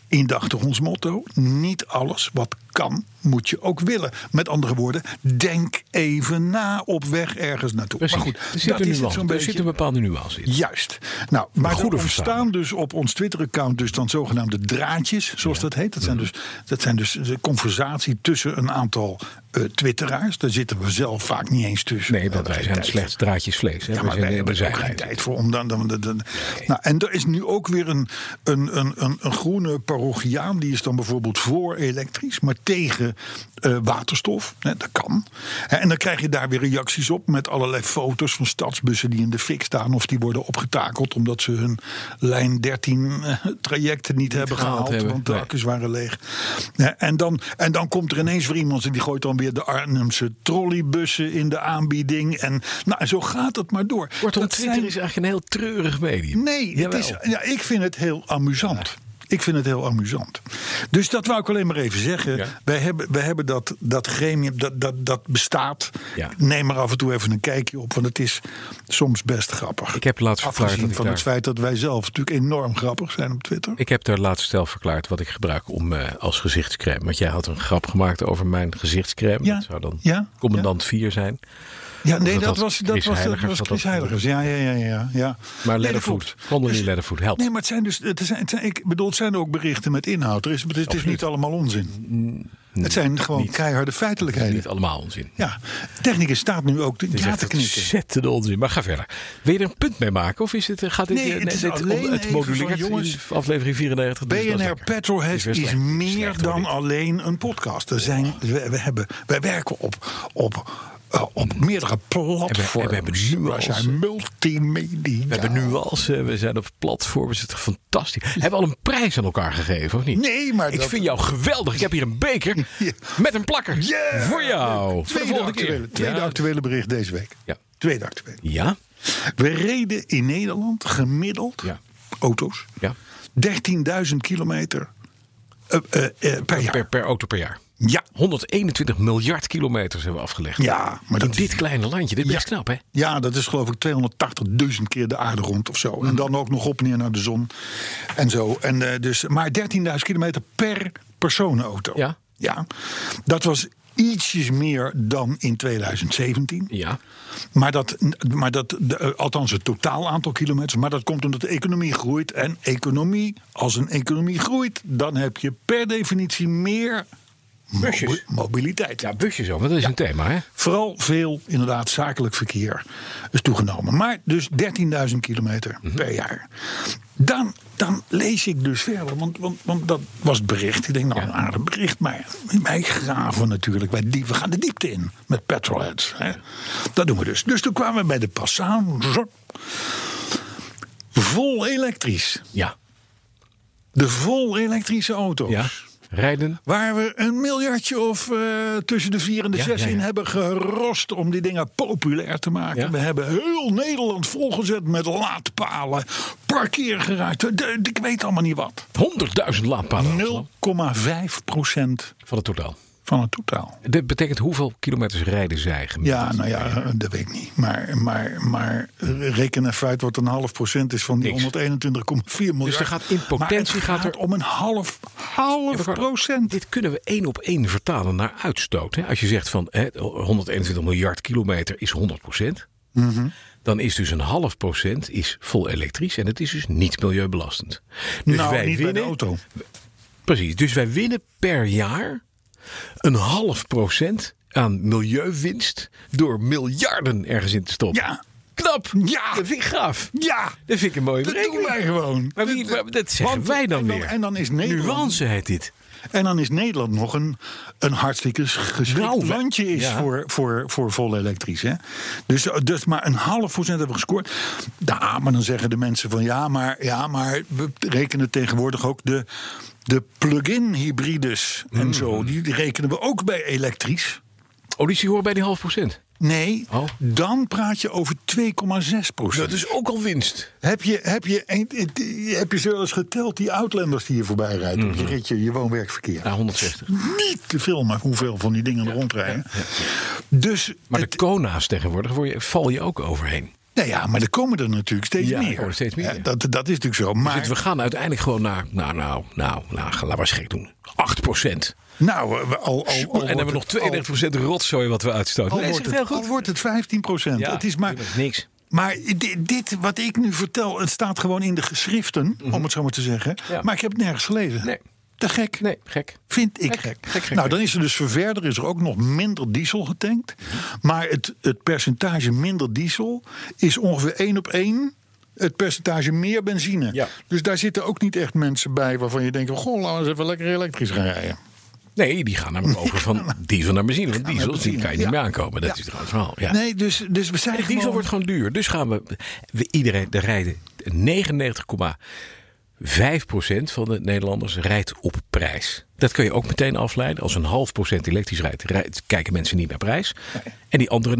B: indachtig ons motto: niet alles wat kan moet je ook willen. Met andere woorden, denk even na op weg ergens naartoe.
C: Precies.
B: Maar
C: er
B: goed,
C: zit,
B: dat
C: een
B: is het
C: nuance,
B: zo'n
C: er zit
B: beetje.
C: een bepaalde nuance in.
B: Juist. Nou, maar
C: goede
B: er ontstaan
C: verstaan.
B: dus op ons Twitter-account dus dan zogenaamde draadjes, zoals dat heet. Dat zijn,
C: Mhm.
B: dus, dat zijn dus de conversatie tussen een aantal eh, twitteraars. Daar zitten we zelf vaak niet eens tussen.
C: Nee,
B: We
C: want
B: hebben
C: wij
B: geen
C: zijn
B: tijd.
C: slechts draadjes vlees. Hè?
B: Ja, maar
C: we
B: wij
C: zijn,
B: hebben
C: we
B: er ook
C: zijn
B: geen tijd voor om dan... dan, dan, dan- Nou, en er is nu ook weer een, een, een, een, een groene parochiaan... die is dan bijvoorbeeld voor elektrisch, maar tegen eh, waterstof. Hè, dat kan. Hè, En dan krijg je daar weer reacties op met allerlei foto's van stadsbussen... die in de fik staan of die worden opgetakeld... omdat ze hun lijn 13 eh, trajecten niet, hebben
C: gehaald
B: gehaald...
C: hebben,
B: want eh, de
C: nee.
B: accu's waren leeg. Hè, En dan, en dan komt er ineens weer iemand... en die gooit dan weer de Arnhemse trolleybussen in de aanbieding. En nou, en zo gaat het maar door.
C: Kortom,
B: Dat
C: Twitter
B: zijn-
C: is eigenlijk een heel treurig medium.
B: Nee, het
C: Jawel.
B: is, ja, ik vind het heel amusant. Ik vind het heel amusant. Dus dat wou ik alleen maar even zeggen.
C: Ja.
B: Wij hebben, wij hebben dat, dat gremium, dat, dat, dat bestaat.
C: Ja.
B: Neem er af en toe even een kijkje op, want het is soms best grappig.
C: Ik heb laatst verklaard dat
B: Afgezien
C: ik
B: van
C: daar...
B: het feit dat wij zelf natuurlijk enorm grappig zijn op Twitter.
C: Ik heb daar laatst zelf verklaard wat ik gebruik om eh, als gezichtscrème. Want jij had een grap gemaakt over mijn gezichtscrème.
B: Ja,
C: Dat zou dan
B: ja,
C: commandant 4 zijn.
B: ja, nee,
C: dat
B: dat,
C: had
B: was, dat,
C: Chris
B: was, dat
C: Heiligers
B: was
C: had
B: Chris
C: dat
B: Heiligers. Ja, ja, ja, ja. ja.
C: Maar
B: Nee, dat
C: Leatherfoot,
B: klopt.
C: Condoleezza
B: Dus-
C: Leatherfoot, help.
B: Nee, maar het zijn dus. Het zijn, het zijn, ik bedoel, het zijn ook berichten met inhoud. Er is, het is, het is niet allemaal onzin. Het zijn gewoon keiharde feitelijkheden.
C: Niet allemaal onzin.
B: Ja, technicus staat nu ook de
C: Het is
B: ja
C: echt
B: te knikken.
C: ontzettende onzin. Maar ga verder. Wil je er een punt mee maken? Of is het, eh, gaat dit,
B: Nee,
C: eh,
B: het is
C: dit-
B: alleen
C: het
B: even
C: moduleert
B: van, jongens,
C: in aflevering 94. dus dat is
B: BNR
C: lekker.
B: Petrolhead
C: weer
B: is,
C: slecht.
B: meer
C: Slecht, hoor,
B: dan
C: dit.
B: alleen een podcast. Er zijn, we, we hebben, wij werken op, op, eh, op meerdere platforms.
C: En we- en we hebben nuance.
B: Wij zijn multimedia.
C: We hebben nuance, we zijn op platform, we zitten fantastisch. Hebben we al een prijs aan elkaar gegeven, of niet?
B: Nee, maar
C: Ik
B: dat-
C: vind jou geweldig. Ik heb hier een beker
B: Ja.
C: met een plakker
B: Yeah!
C: voor jou. Voor de
B: Tweede,
C: volgende
B: actuele,
C: keer.
B: tweede
C: ja.
B: actuele bericht deze week.
C: Ja.
B: Tweede actuele.
C: Ja?
B: We reden in Nederland gemiddeld
C: Ja.
B: auto's
C: Ja.
B: 13.000 kilometer eh, eh, eh, per jaar.
C: Per, per auto per jaar.
B: Ja.
C: 121 miljard kilometers hebben we afgelegd.
B: Ja, maar
C: In
B: dat
C: dit kleine landje, dit is best
B: Ja.
C: knap, hè?
B: Ja, dat is geloof ik 280.000 keer de aarde rond of zo.
C: Mm.
B: En dan ook nog op en neer naar de zon en zo. En, eh, dus, maar 13.000 kilometer per personenauto.
C: Ja.
B: ja. Dat was ietsjes meer dan in 2017.
C: Ja.
B: Maar dat, maar dat de, eh, althans het totaal aantal kilometers, maar dat komt omdat de economie groeit. En economie, als een economie groeit, dan heb je per definitie meer
C: Busjes.
B: mobi- mobiliteit.
C: Ja, busjes al, want dat is een thema, hè?
B: Vooral veel, inderdaad, zakelijk verkeer is toegenomen. Maar dus 13.000 kilometer
C: Mhm.
B: per jaar. Dan, dan lees ik dus verder, want, want, want dat was het bericht. Ik denk, nou,
C: Ja.
B: een aardig bericht. Maar wij graven natuurlijk, wij die, we gaan de diepte in met petrolheads. Hè. Dat doen we dus. Dus toen kwamen we bij de Passaan. zo. Vol elektrisch.
C: Ja.
B: De vol elektrische auto's.
C: ja. Rijden.
B: Waar we een miljardje of eh, tussen de vier en de
C: Ja,
B: zes
C: ja, ja.
B: in hebben gerost om die dingen populair te maken.
C: Ja.
B: We hebben heel Nederland volgezet met laadpalen, parkeergarages, de- de- ik weet allemaal niet wat.
C: 100.000 laadpalen. in Amsterdam
B: 0,5 procent
C: Van het totaal.
B: van het totaal.
C: Dat betekent hoeveel kilometers rijden zij gemiddeld?
B: Ja, nou ja, eh, dat weet ik niet. Maar, maar, maar eh, reken even uit wat een half procent is van die
C: Niks. Dus
B: 121,4 miljard.
C: er gaat in
B: Maar het
C: potentie gaat er-
B: om een half,
C: Ja,
B: half
C: maar Carlo,
B: procent.
C: Dit kunnen we één op één vertalen naar uitstoot. Hè? Als je zegt van hè, 121 miljard kilometer is 100 procent.
B: Mhm.
C: Dan is dus een half procent is vol elektrisch. En het is dus niet milieubelastend. Dus
B: nou,
C: wij
B: niet bij
C: winnen,
B: de auto.
C: Precies, dus wij winnen per jaar een half procent aan milieuwinst... door miljarden ergens in te stoppen.
B: Ja.
C: Knap!
B: Ja.
C: Dat vind ik gaaf.
B: Ja,
C: Dat vind ik een mooie
B: dat
C: berekening.
B: doen wij gewoon.
C: Maar, wie, maar dat zeggen
B: Want-
C: wij dan
B: en dan-
C: weer.
B: en dan is Nederland-
C: Nuance heet dit.
B: En dan is Nederland nog een, een hartstikke geschikt
C: Nou, we-
B: landje is
C: ja.
B: voor, voor, voor vol elektrisch. Hè? Dus, dus maar een half procent hebben we gescoord. Ja, maar dan zeggen de mensen van ja, maar, ja, maar we rekenen tegenwoordig ook de, de plug-in hybrides en
C: Hmm.
B: zo. Die rekenen we ook bij elektrisch.
C: Oh, die hoort bij die half procent.
B: Nee,
C: Oh.
B: dan praat je over 2,6 procent.
C: Dat is ook al winst.
B: Heb je, heb, je, een- heb je ze wel eens geteld, die Outlanders die hier voorbij rijden? Op je ritje, je woon-werkverkeer.
C: Mhm. Ja, 160.
B: niet te filmen hoeveel van die dingen er rondrijden. Dus,
C: Maar de
B: het-
C: Kona's tegenwoordig word je, val je ook overheen.
B: nou ja, maar er komen er natuurlijk steeds
C: Ja, er
B: meer.
C: komen er steeds meer,
B: Hè,
C: ja.
B: Dat, dat is natuurlijk zo. Maar
C: Dus we gaan uiteindelijk gewoon naar, nou, nou, nou, nou laten we eens gek doen. 8 procent.
B: nou, eh, we- al, al, al
C: en dan hebben we nog 32 procent rotzooi wat we uitstoten.
B: Al, al,
C: Nee,
B: wordt
C: is
B: het,
C: heel goed.
B: al wordt het 15 procent.
C: Ja,
B: het is maar,
C: dat is niks.
B: Maar di- dit, wat ik nu vertel, het staat gewoon in de geschriften, om het zo maar te zeggen.
C: Mhm. Ja.
B: Maar ik heb het nergens gelezen.
C: Nee.
B: Te gek.
C: Nee, gek.
B: Vind ik
C: Gek,
B: gek.
C: gek, gek,
B: nou,
C: gek.
B: dan is er dus voor verder is er ook nog minder diesel getankt. Maar het, het percentage minder diesel is ongeveer 1 op 1 het percentage meer benzine.
C: Ja.
B: Dus daar zitten ook niet echt mensen bij waarvan je denkt... goh, laten we eens even lekker elektrisch gaan rijden.
C: Nee, die gaan namelijk over van diesel naar benzine. Want diesel die
B: benzine,
C: kan je niet
B: ja.
C: meer aankomen. Dat is trouwens wel. Ja.
B: Nee, dus, dus we zijn
C: En diesel
B: gewoon-
C: wordt gewoon duur. Dus gaan we, we iedereen, er rijden 99,5% van de Nederlanders rijdt op prijs. Dat kun je ook meteen afleiden. Als een half procent elektrisch rijdt, rijdt- kijken mensen niet naar prijs. En die andere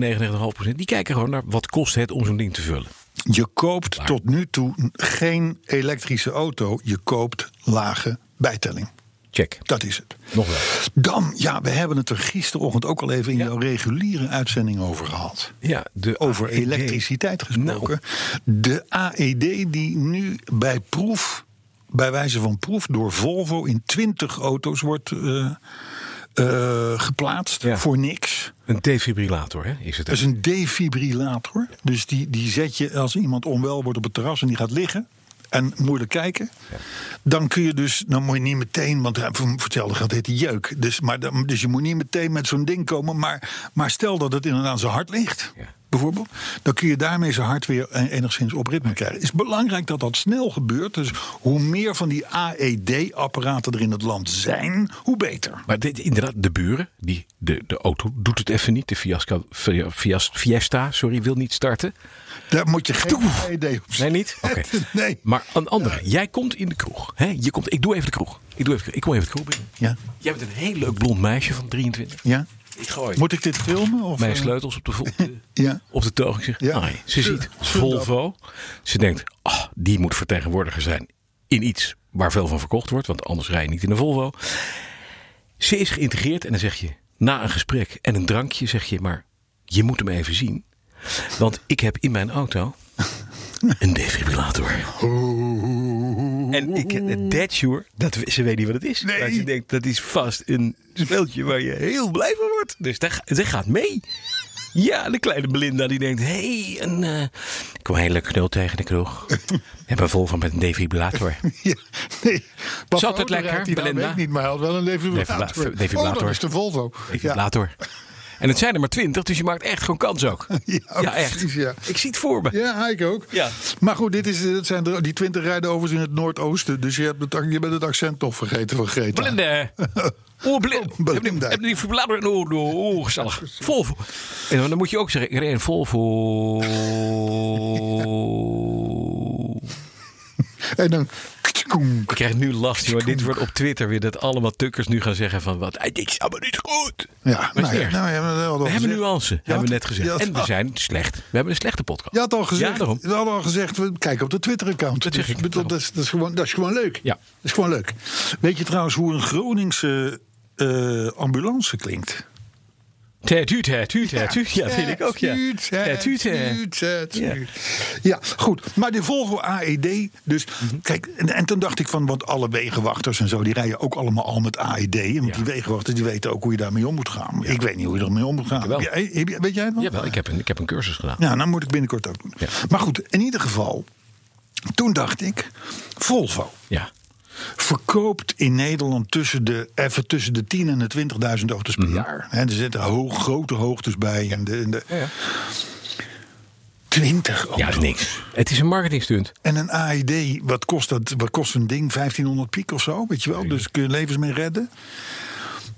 C: 99,5% die kijken gewoon naar wat kost het om zo'n ding te vullen.
B: Je koopt tot nu toe geen elektrische auto. Je koopt lage bijtelling.
C: Check.
B: Dat is het.
C: Nog wel.
B: Dan, ja, we hebben het er gisterochtend ook al even in jouw reguliere uitzending over gehad.
C: Ja, de
B: eh,
C: E
B: Over
C: AED.
B: elektriciteit gesproken. De AED die nu bij proef, bij wijze van proef, door Volvo in 20 auto's wordt eh, eh, geplaatst
C: Ja.
B: voor niks.
C: Een defibrillator hè, is het.
B: Dat is een defibrillator. Dus die, die zet je als iemand onwel wordt op het terras en die gaat liggen. En moeilijk kijken. Dan kun je dus, dan moet je niet meteen, want eh, voor hetzelfde gaat heet die jeuk. Dus, maar, dan- dus je moet niet meteen met zo'n ding komen. Maar, maar stel dat het inderdaad zo hard ligt,
C: Ja.
B: bijvoorbeeld. Dan kun je daarmee zo hard weer eh, enigszins op ritme krijgen. Het is belangrijk dat dat snel gebeurt. Dus hoe meer van die AED-apparaten er in het land zijn, hoe beter.
C: Maar dit, inderdaad, de buren, die, de, de auto doet het even niet. De Fiasca, Fia- Fias- Fiesta sorry, wil niet starten.
B: Daar moet je geen AED op
C: Nee, niet? Oké.
B: Nee.
C: Maar een andere. Jij komt in de kroeg. Hè? Je komt, ik doe even de kroeg. Ik, doe even, ik kom even de kroeg binnen.
B: Ja.
C: Jij bent een heel leuk blond meisje van 23.
B: Ja.
C: Ik gooi
B: Moet ik dit filmen? Of,
C: mijn
B: eh,
C: sleutels op de, vo- op de-
B: Ja.
C: op de toog. Ik zeg,
B: Ja.
C: "Ai." Ze ziet
B: Zullen
C: Volvo. Ze denkt, ah, die moet vertegenwoordiger zijn in iets waar veel van verkocht wordt. Want anders rij je niet in een Volvo. Ze is geïntegreerd en dan zeg je, na een gesprek en een drankje, zeg je maar, je moet hem even zien. Want ik heb in mijn auto een defibrillator. En ik, het Datsure, dat, ze weet niet wat het is.
B: Nee.
C: Maar ze denkt, dat is vast een speeltje waar je heel blij van wordt. Dus daar, zij gaat mee. Ja, de kleine Belinda die denkt, hey, een eh, ik kwam heel leuk knul tegen de kroeg. en ben vol van met een defibrillator.
B: Ja, nee. Wat voor
C: Zat het
B: auto
C: lekker,
B: rijdt hij nou,
C: Belinda?
B: weet ik niet, maar hij had wel een defibrillator.
C: Defibla- defibrillator.
B: Oh, dat is de Volvo. Ja.
C: Defibrillator. En het zijn er maar twintig, dus je maakt echt gewoon kans ook.
B: Ja,
C: echt.
B: precies, ja.
C: Ik zie het voor me.
B: Ja, ik ook.
C: Ja.
B: Maar goed, dit is, dat zijn er, die twintig rijden overigens in het Noordoosten. Dus je, hebt het, je bent het accent toch vergeten van Greta.
C: Belinda. Oh, Belinda.
B: Belinda.
C: Heb die verbladder in oh, oh, oh, gezellig. Volvo. En dan moet je ook zeggen, ik reed een Volvo.
B: En dan...
C: Ik krijg nu last, joh. Dit wordt op Twitter weer dat allemaal tukkers nu gaan zeggen van... Wat, ik snap het niet goed.
B: Ja,
C: Maar
B: nou,
C: is
B: ja,
C: erg.
B: nou, ja, maar dat hadden al
C: we hebben
B: gezegd.
C: nuance, hebben we net gezegd.
B: ja,
C: en we
B: dat-
C: zijn slecht. We hebben een slechte podcast.
B: Je had al gezegd,
C: Ja, daarom.
B: we hadden al gezegd, we kijken op de Twitter-account.
C: Dat zeg
B: Dus
C: ik,
B: bedoel, Dat, is, dat, is gewoon, dat is gewoon leuk.
C: Ja.
B: Dat is gewoon leuk. Weet je trouwens hoe een Groningse eh, ambulance klinkt?
C: Tatu, tatu, tatu. Ja, vind ik ook, ja.
B: Tuut, hè,
C: Tatu, tatu.
B: tuut, hè, tuut. Ja,
C: Ja.
B: goed. Maar de Volvo AED, dus
C: Mhm.
B: kijk, en, en toen dacht ik van, want alle wegenwachters en zo, die rijden ook allemaal al met AED. En
C: Ja.
B: die wegenwachters, die weten ook hoe je daarmee om moet gaan. Ik weet niet hoe je ermee om moet gaan.
C: Jawel.
B: Heb jij- heb jij- weet jij het nog?
C: Jawel, ik heb, een, ik heb een cursus gedaan.
B: Nou, dan moet ik binnenkort ook doen.
C: Ja.
B: Maar goed, in ieder geval, toen dacht ik, Volvo
C: Ja.
B: verkoopt in Nederland tussen de, even tussen de 10.000 en de 20.000 auto's
C: Mhm.
B: per jaar. Hè, er zitten ho- grote hoogtes bij. En de, en de, 20 auto's.
C: Ja, dat is niks. Het is een marketingstunt.
B: En een AED, wat kost, dat, wat kost een ding? 1500 piek of zo, weet je wel? Dus kun je levens mee redden.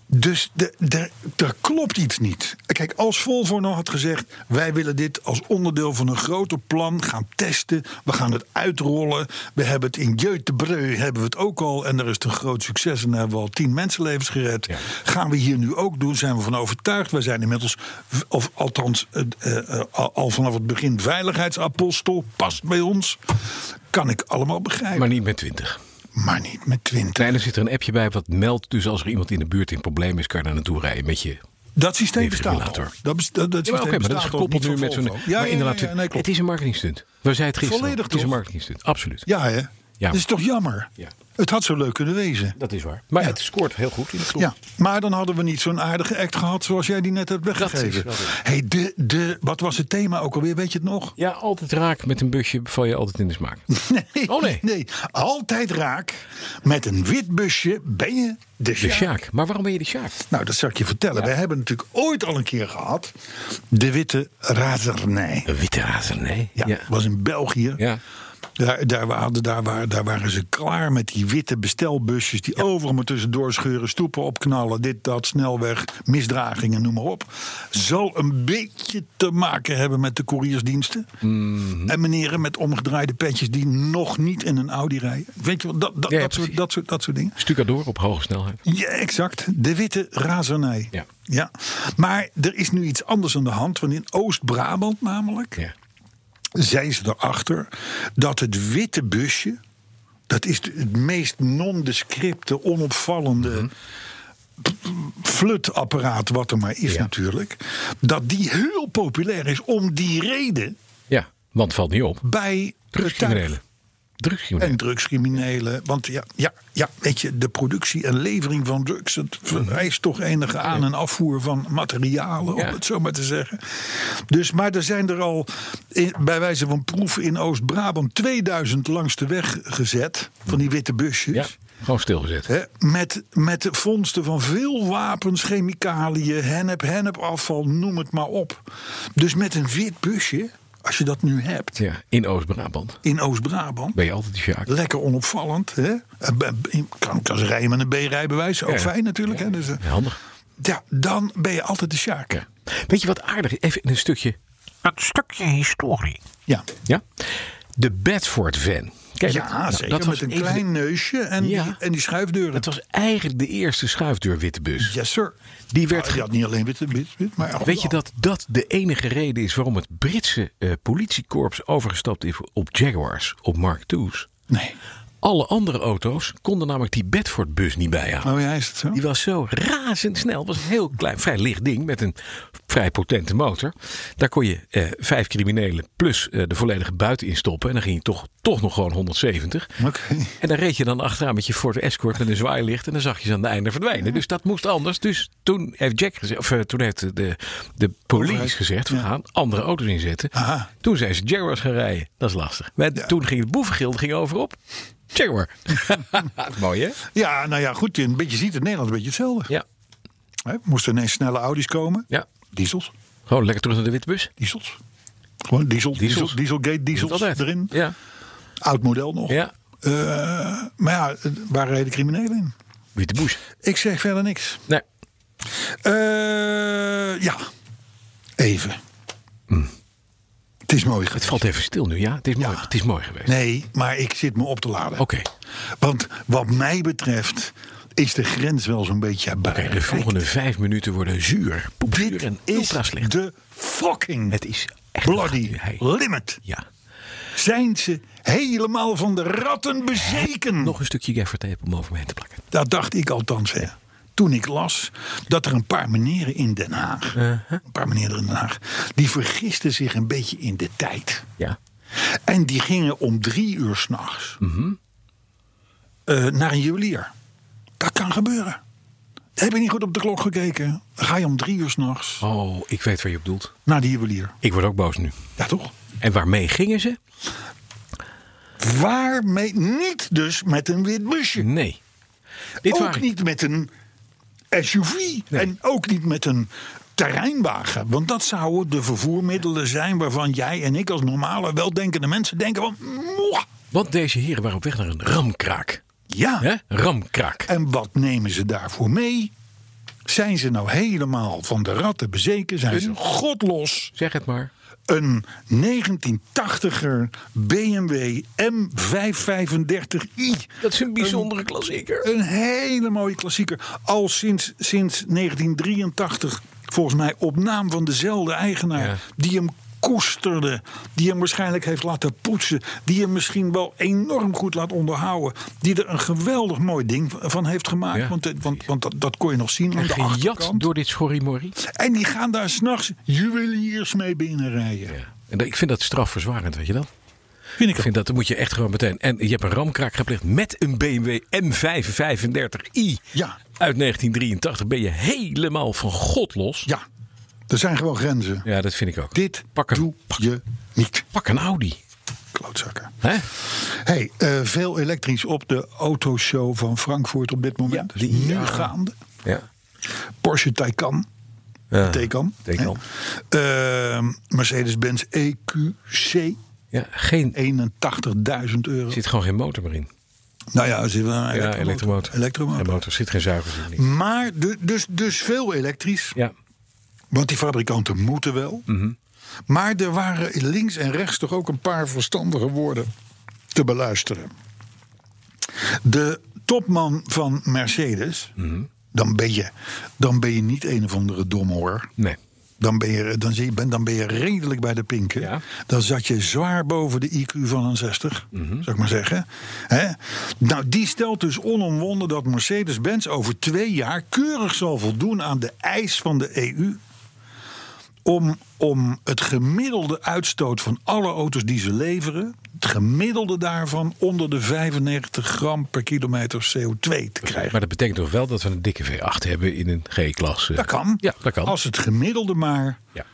B: Dus de- de- er klopt iets niet. Kijk, als Volvo nou had gezegd... wij willen dit als onderdeel van een groter plan gaan testen... we gaan het uitrollen, we hebben het in Göteborg hebben we het ook al... en er is het een groot succes en hebben we al tien mensenlevens gered.
C: Ja.
B: Gaan we hier nu ook doen, zijn we van overtuigd. Wij zijn inmiddels, v- of althans eh, eh, eh, al al vanaf het begin... veiligheidsapostel, past bij ons. Kan ik allemaal begrijpen,
C: Maar
B: maar,
C: niet met 20.
B: niet met twintig.
C: Nee, dan zit er een appje bij wat meldt. Dus als er iemand in de buurt in probleem is, kan je daar naartoe rijden met je.
B: Dat systeem bestaat al.
C: Defibrillator.
B: Dat, bes- dat, dat
C: Ja, maar oké,
B: systeem
C: maar dat is
B: bestaat al,
C: gekoppeld
B: niet
C: nu
B: van
C: met zo'n.
B: Volvo.
C: maar
B: ja,
C: inderdaad,
B: ja, nee, klopt.
C: het is een marketingstunt. We zeiden het gisteren.
B: Volledig,
C: al. het is een
B: toch?
C: marketingstunt, absoluut.
B: Ja, hè?
C: Ja.
B: Dat is toch jammer?
C: Ja.
B: Het had zo leuk kunnen wezen.
C: Dat is waar. Maar
B: Ja.
C: het scoort heel goed in de groep.
B: Ja, maar dan hadden we niet zo'n aardige act gehad zoals jij die net hebt weggegeven.
C: Dat is wel
B: hey, de, de, wat was het thema ook alweer? Weet je het nog?
C: Ja, altijd raak met een busje val je altijd in de smaak.
B: Nee,
C: Oh, nee.
B: altijd raak. Met een wit busje ben je de
C: De
B: Sjaak.
C: Sjaak. Maar waarom ben je de Sjaak?
B: Nou, dat zal ik je vertellen. We hebben natuurlijk ooit al een keer gehad de witte razernij.
C: Een witte razer, nee.
B: Ja,
C: ja.
B: was in België.
C: Ja.
B: Daar, daar, waren, daar, waren, daar waren ze klaar met die witte bestelbusjes. die overal maar tussendoor scheuren, stoepen opknallen. dit, dat, snelweg, misdragingen, noem maar op. Zal een beetje te maken hebben met de couriersdiensten.
C: Mhm.
B: En meneren met omgedraaide petjes die nog niet in een Audi rijden. Weet je wel, dat, dat,
C: Ja, ja,
B: dat, soort,
C: precies.
B: dat, soort, dat soort dingen.
C: Stukadoor op hoge snelheid.
B: Ja, exact. De witte razernij.
C: Ja.
B: ja. Maar er is nu iets anders aan de hand. Want in Oost-Brabant namelijk
C: Ja.
B: zijn ze erachter dat het witte busje, dat is de- het meest nondescripte, onopvallende p- p- flutapparaat wat er maar is
C: Ja.
B: natuurlijk, dat die heel populair is om die reden
C: ja, want het valt niet op.
B: bij
C: Drugscriminelen. Drugscriminelen.
B: en drugscriminelen. Want ja, ja, ja, weet je, de productie en levering van drugs. Het vereist toch enige aan- en afvoer van materialen, om
C: Ja.
B: het zo maar te zeggen. Dus, maar er zijn er al, in- bij wijze van proef in Oost-Brabant, 2000 langs de weg gezet. Van die witte busjes.
C: Ja, gewoon stilgezet.
B: Hè, met, met de vondsten van veel wapens, chemicaliën, hennep, hennepafval, noem het maar op. Dus met een wit busje, als je dat nu hebt,
C: Ja, in Oost-Brabant.
B: in Oost-Brabant
C: Ben je altijd de Sjaak.
B: lekker onopvallend. Hè? Eh, b- b- Kan, kan ze rijden met een B-rijbewijs, ook
C: Ja.
B: fijn natuurlijk. Hè? Dus, eh,
C: Handig.
B: ja, dan ben je altijd de Sjaak. Ja.
C: Ja. Weet je wat aardig is? Even een stukje. Een stukje historie. Ja? De Bedford van. Kijk,
B: Ja,
C: nou,
B: zeker.
C: was
B: met een
C: van de-
B: klein neusje en,
C: Ja.
B: die, en die schuifdeuren.
C: Het was eigenlijk de eerste schuifdeur witte bus.
B: Yes, sir.
C: Die werd
B: Nou,
C: ge-
B: had niet alleen wit, wit, wit maar Oh, ja,
C: Weet je dat dat de enige reden is waarom het Britse eh, politiekorps overgestapt is op Jaguars, op Mark II's?
B: Nee.
C: Alle andere auto's konden namelijk die Bedford-bus niet bijhouden.
B: Oh ja, is het zo?
C: Die was zo razendsnel. Het was een heel klein, vrij licht ding met een vrij potente motor. Daar kon je eh, vijf criminelen plus eh, de volledige buiten in stoppen. En dan ging je toch, toch nog gewoon 170.
B: Oké.
C: En dan reed je dan achteraan met je Ford Escort met een zwaailicht. En dan zag je ze aan het einde verdwijnen. Dus dat moest anders. Dus toen heeft Jack gezegd, of eh, toen heeft de, de
B: Overheid. Ah.
C: police gezegd, we gaan andere auto's inzetten.
B: Aha.
C: Toen zijn ze Jaguars gaan rijden. Dat is lastig. Maar toen ging het boevengild ging over op Jaguar. Mooi hè?
B: Ja, nou ja, goed. Een beetje ziet het Nederland een beetje hetzelfde.
C: Ja.
B: Hè, moesten ineens snelle Audi's komen.
C: ja.
B: Diesels.
C: Gewoon lekker terug naar de witte bus.
B: Diesels. Gewoon diesel,
C: Diesels.
B: diesel, dieselgate diesels
C: Altijd.
B: erin.
C: Ja.
B: Oud model nog.
C: ja.
B: Eh, maar ja, waar reden criminelen in?
C: Witte boes.
B: Ik zeg verder niks.
C: Nee.
B: Eh, ja, even. Het is mooi
C: Hm. Het
B: geweest.
C: valt even stil nu, ja? Het is mooi,
B: Ja.
C: het is mooi geweest.
B: Nee, maar ik zit me op te laden.
C: Oké.
B: Want wat mij betreft is de grens wel zo'n beetje
C: Oké,
B: bereikt.
C: de volgende vijf minuten worden zuur, poepzuur
B: Dit
C: en
B: is
C: ultra slecht.
B: de fucking
C: Het is echt
B: bloody
C: lachen. Hij-
B: limit.
C: Ja.
B: Zijn ze helemaal van de ratten bezeken?
C: Nog een stukje gaffer tape om over me heen te plakken.
B: Dat dacht ik althans, hè. Toen ik las dat er een paar meneren in Den Haag... een paar meneren in Den Haag... die vergisten zich een beetje in de tijd.
C: Ja.
B: En die gingen om drie uur s'nachts... eh, naar een juwelier. Dat kan gebeuren. Heb je niet goed op de klok gekeken? Dan ga je om drie uur s'nachts
C: Oh, ik weet waar je op doelt.
B: naar die juwelier.
C: Ik word ook boos nu.
B: Ja, toch?
C: En waarmee gingen ze?
B: Waarmee? Niet dus met een wit busje.
C: Nee. Dit
B: ook
C: waren-
B: niet met een SUV. En ook niet met een terreinwagen. Want dat zouden de vervoermiddelen zijn waarvan jij en ik als normale weldenkende mensen denken van... "Mwah."
C: Want deze heren waren op weg naar een ramkraak.
B: Ja.
C: Hè? Ramkraak.
B: En wat nemen ze daarvoor mee? Zijn ze nou helemaal van de ratten bezeken? Zijn ze godlos
C: Zeg het maar.
B: een 1980er BMW M535i?
C: Dat is een bijzondere klassieker.
B: Een hele mooie klassieker. Al sinds, sinds 1983, volgens mij, op naam van dezelfde eigenaar.
C: Ja.
B: Die hem koesterde. Die hem waarschijnlijk heeft laten poetsen. Die hem misschien wel enorm goed laat onderhouden. Die er een geweldig mooi ding van heeft gemaakt.
C: Ja.
B: Want, eh, want, want dat, dat kon je nog zien aan de
C: Gejat
B: achterkant.
C: door dit schorrimorrie.
B: En die gaan daar s'nachts juweliers mee binnenrijden.
C: Ja. En dat- ik vind dat strafverzwarend, weet je dat?
B: Vind ik
C: Ik vind dat, dat moet je echt gewoon meteen. En je hebt een ramkraak gepleegd met een BMW M535i.
B: Ja.
C: Uit 1983 ben je helemaal van god los.
B: Ja, er zijn gewoon grenzen.
C: Ja, dat vind ik ook.
B: Dit
C: pak een,
B: doe je niet.
C: pak een Audi.
B: Klootzakken.
C: Hè?
B: Hey, eh, veel elektrisch op de autoshow van Frankfurt op dit moment.
C: Ja,
B: Dus
C: die-
B: nu
C: ja.
B: gaande.
C: Ja.
B: Porsche Taycan.
C: Ja.
B: Taycan.
C: Taycan.
B: hè. Eh, Mercedes-Benz E EQC.
C: Ja, geen,
B: 81.000 euro.
C: er zit gewoon geen motor meer in.
B: nou ja, er zit wel een
C: Ja,
B: elektromotor.
C: elektromotor.
B: Elektromotor.
C: En motor zit geen zuigers in. niks.
B: Maar du- dus, dus veel elektrisch.
C: Ja.
B: Want die fabrikanten moeten wel. Maar er waren links en rechts toch ook een paar verstandige woorden te beluisteren. De topman van Mercedes, dan, ben je, dan ben je niet een of andere domhoor.
C: Nee.
B: Dan ben, je, dan, zie je- ben, dan ben je redelijk bij de pinken.
C: Ja.
B: Dan zat je zwaar boven de IQ van een 60, zou ik maar zeggen. Hè? Nou, die stelt dus onomwonden dat Mercedes-Benz over twee jaar keurig zal voldoen aan de eis van de EU. Om, om het gemiddelde uitstoot van alle auto's die ze leveren. Het gemiddelde daarvan onder de 95 gram per kilometer CO2 te krijgen.
C: Maar dat betekent toch wel dat we een dikke V8 hebben in een G-klasse.
B: Dat kan.
C: Ja, dat kan.
B: Als het gemiddelde maar
C: Ja.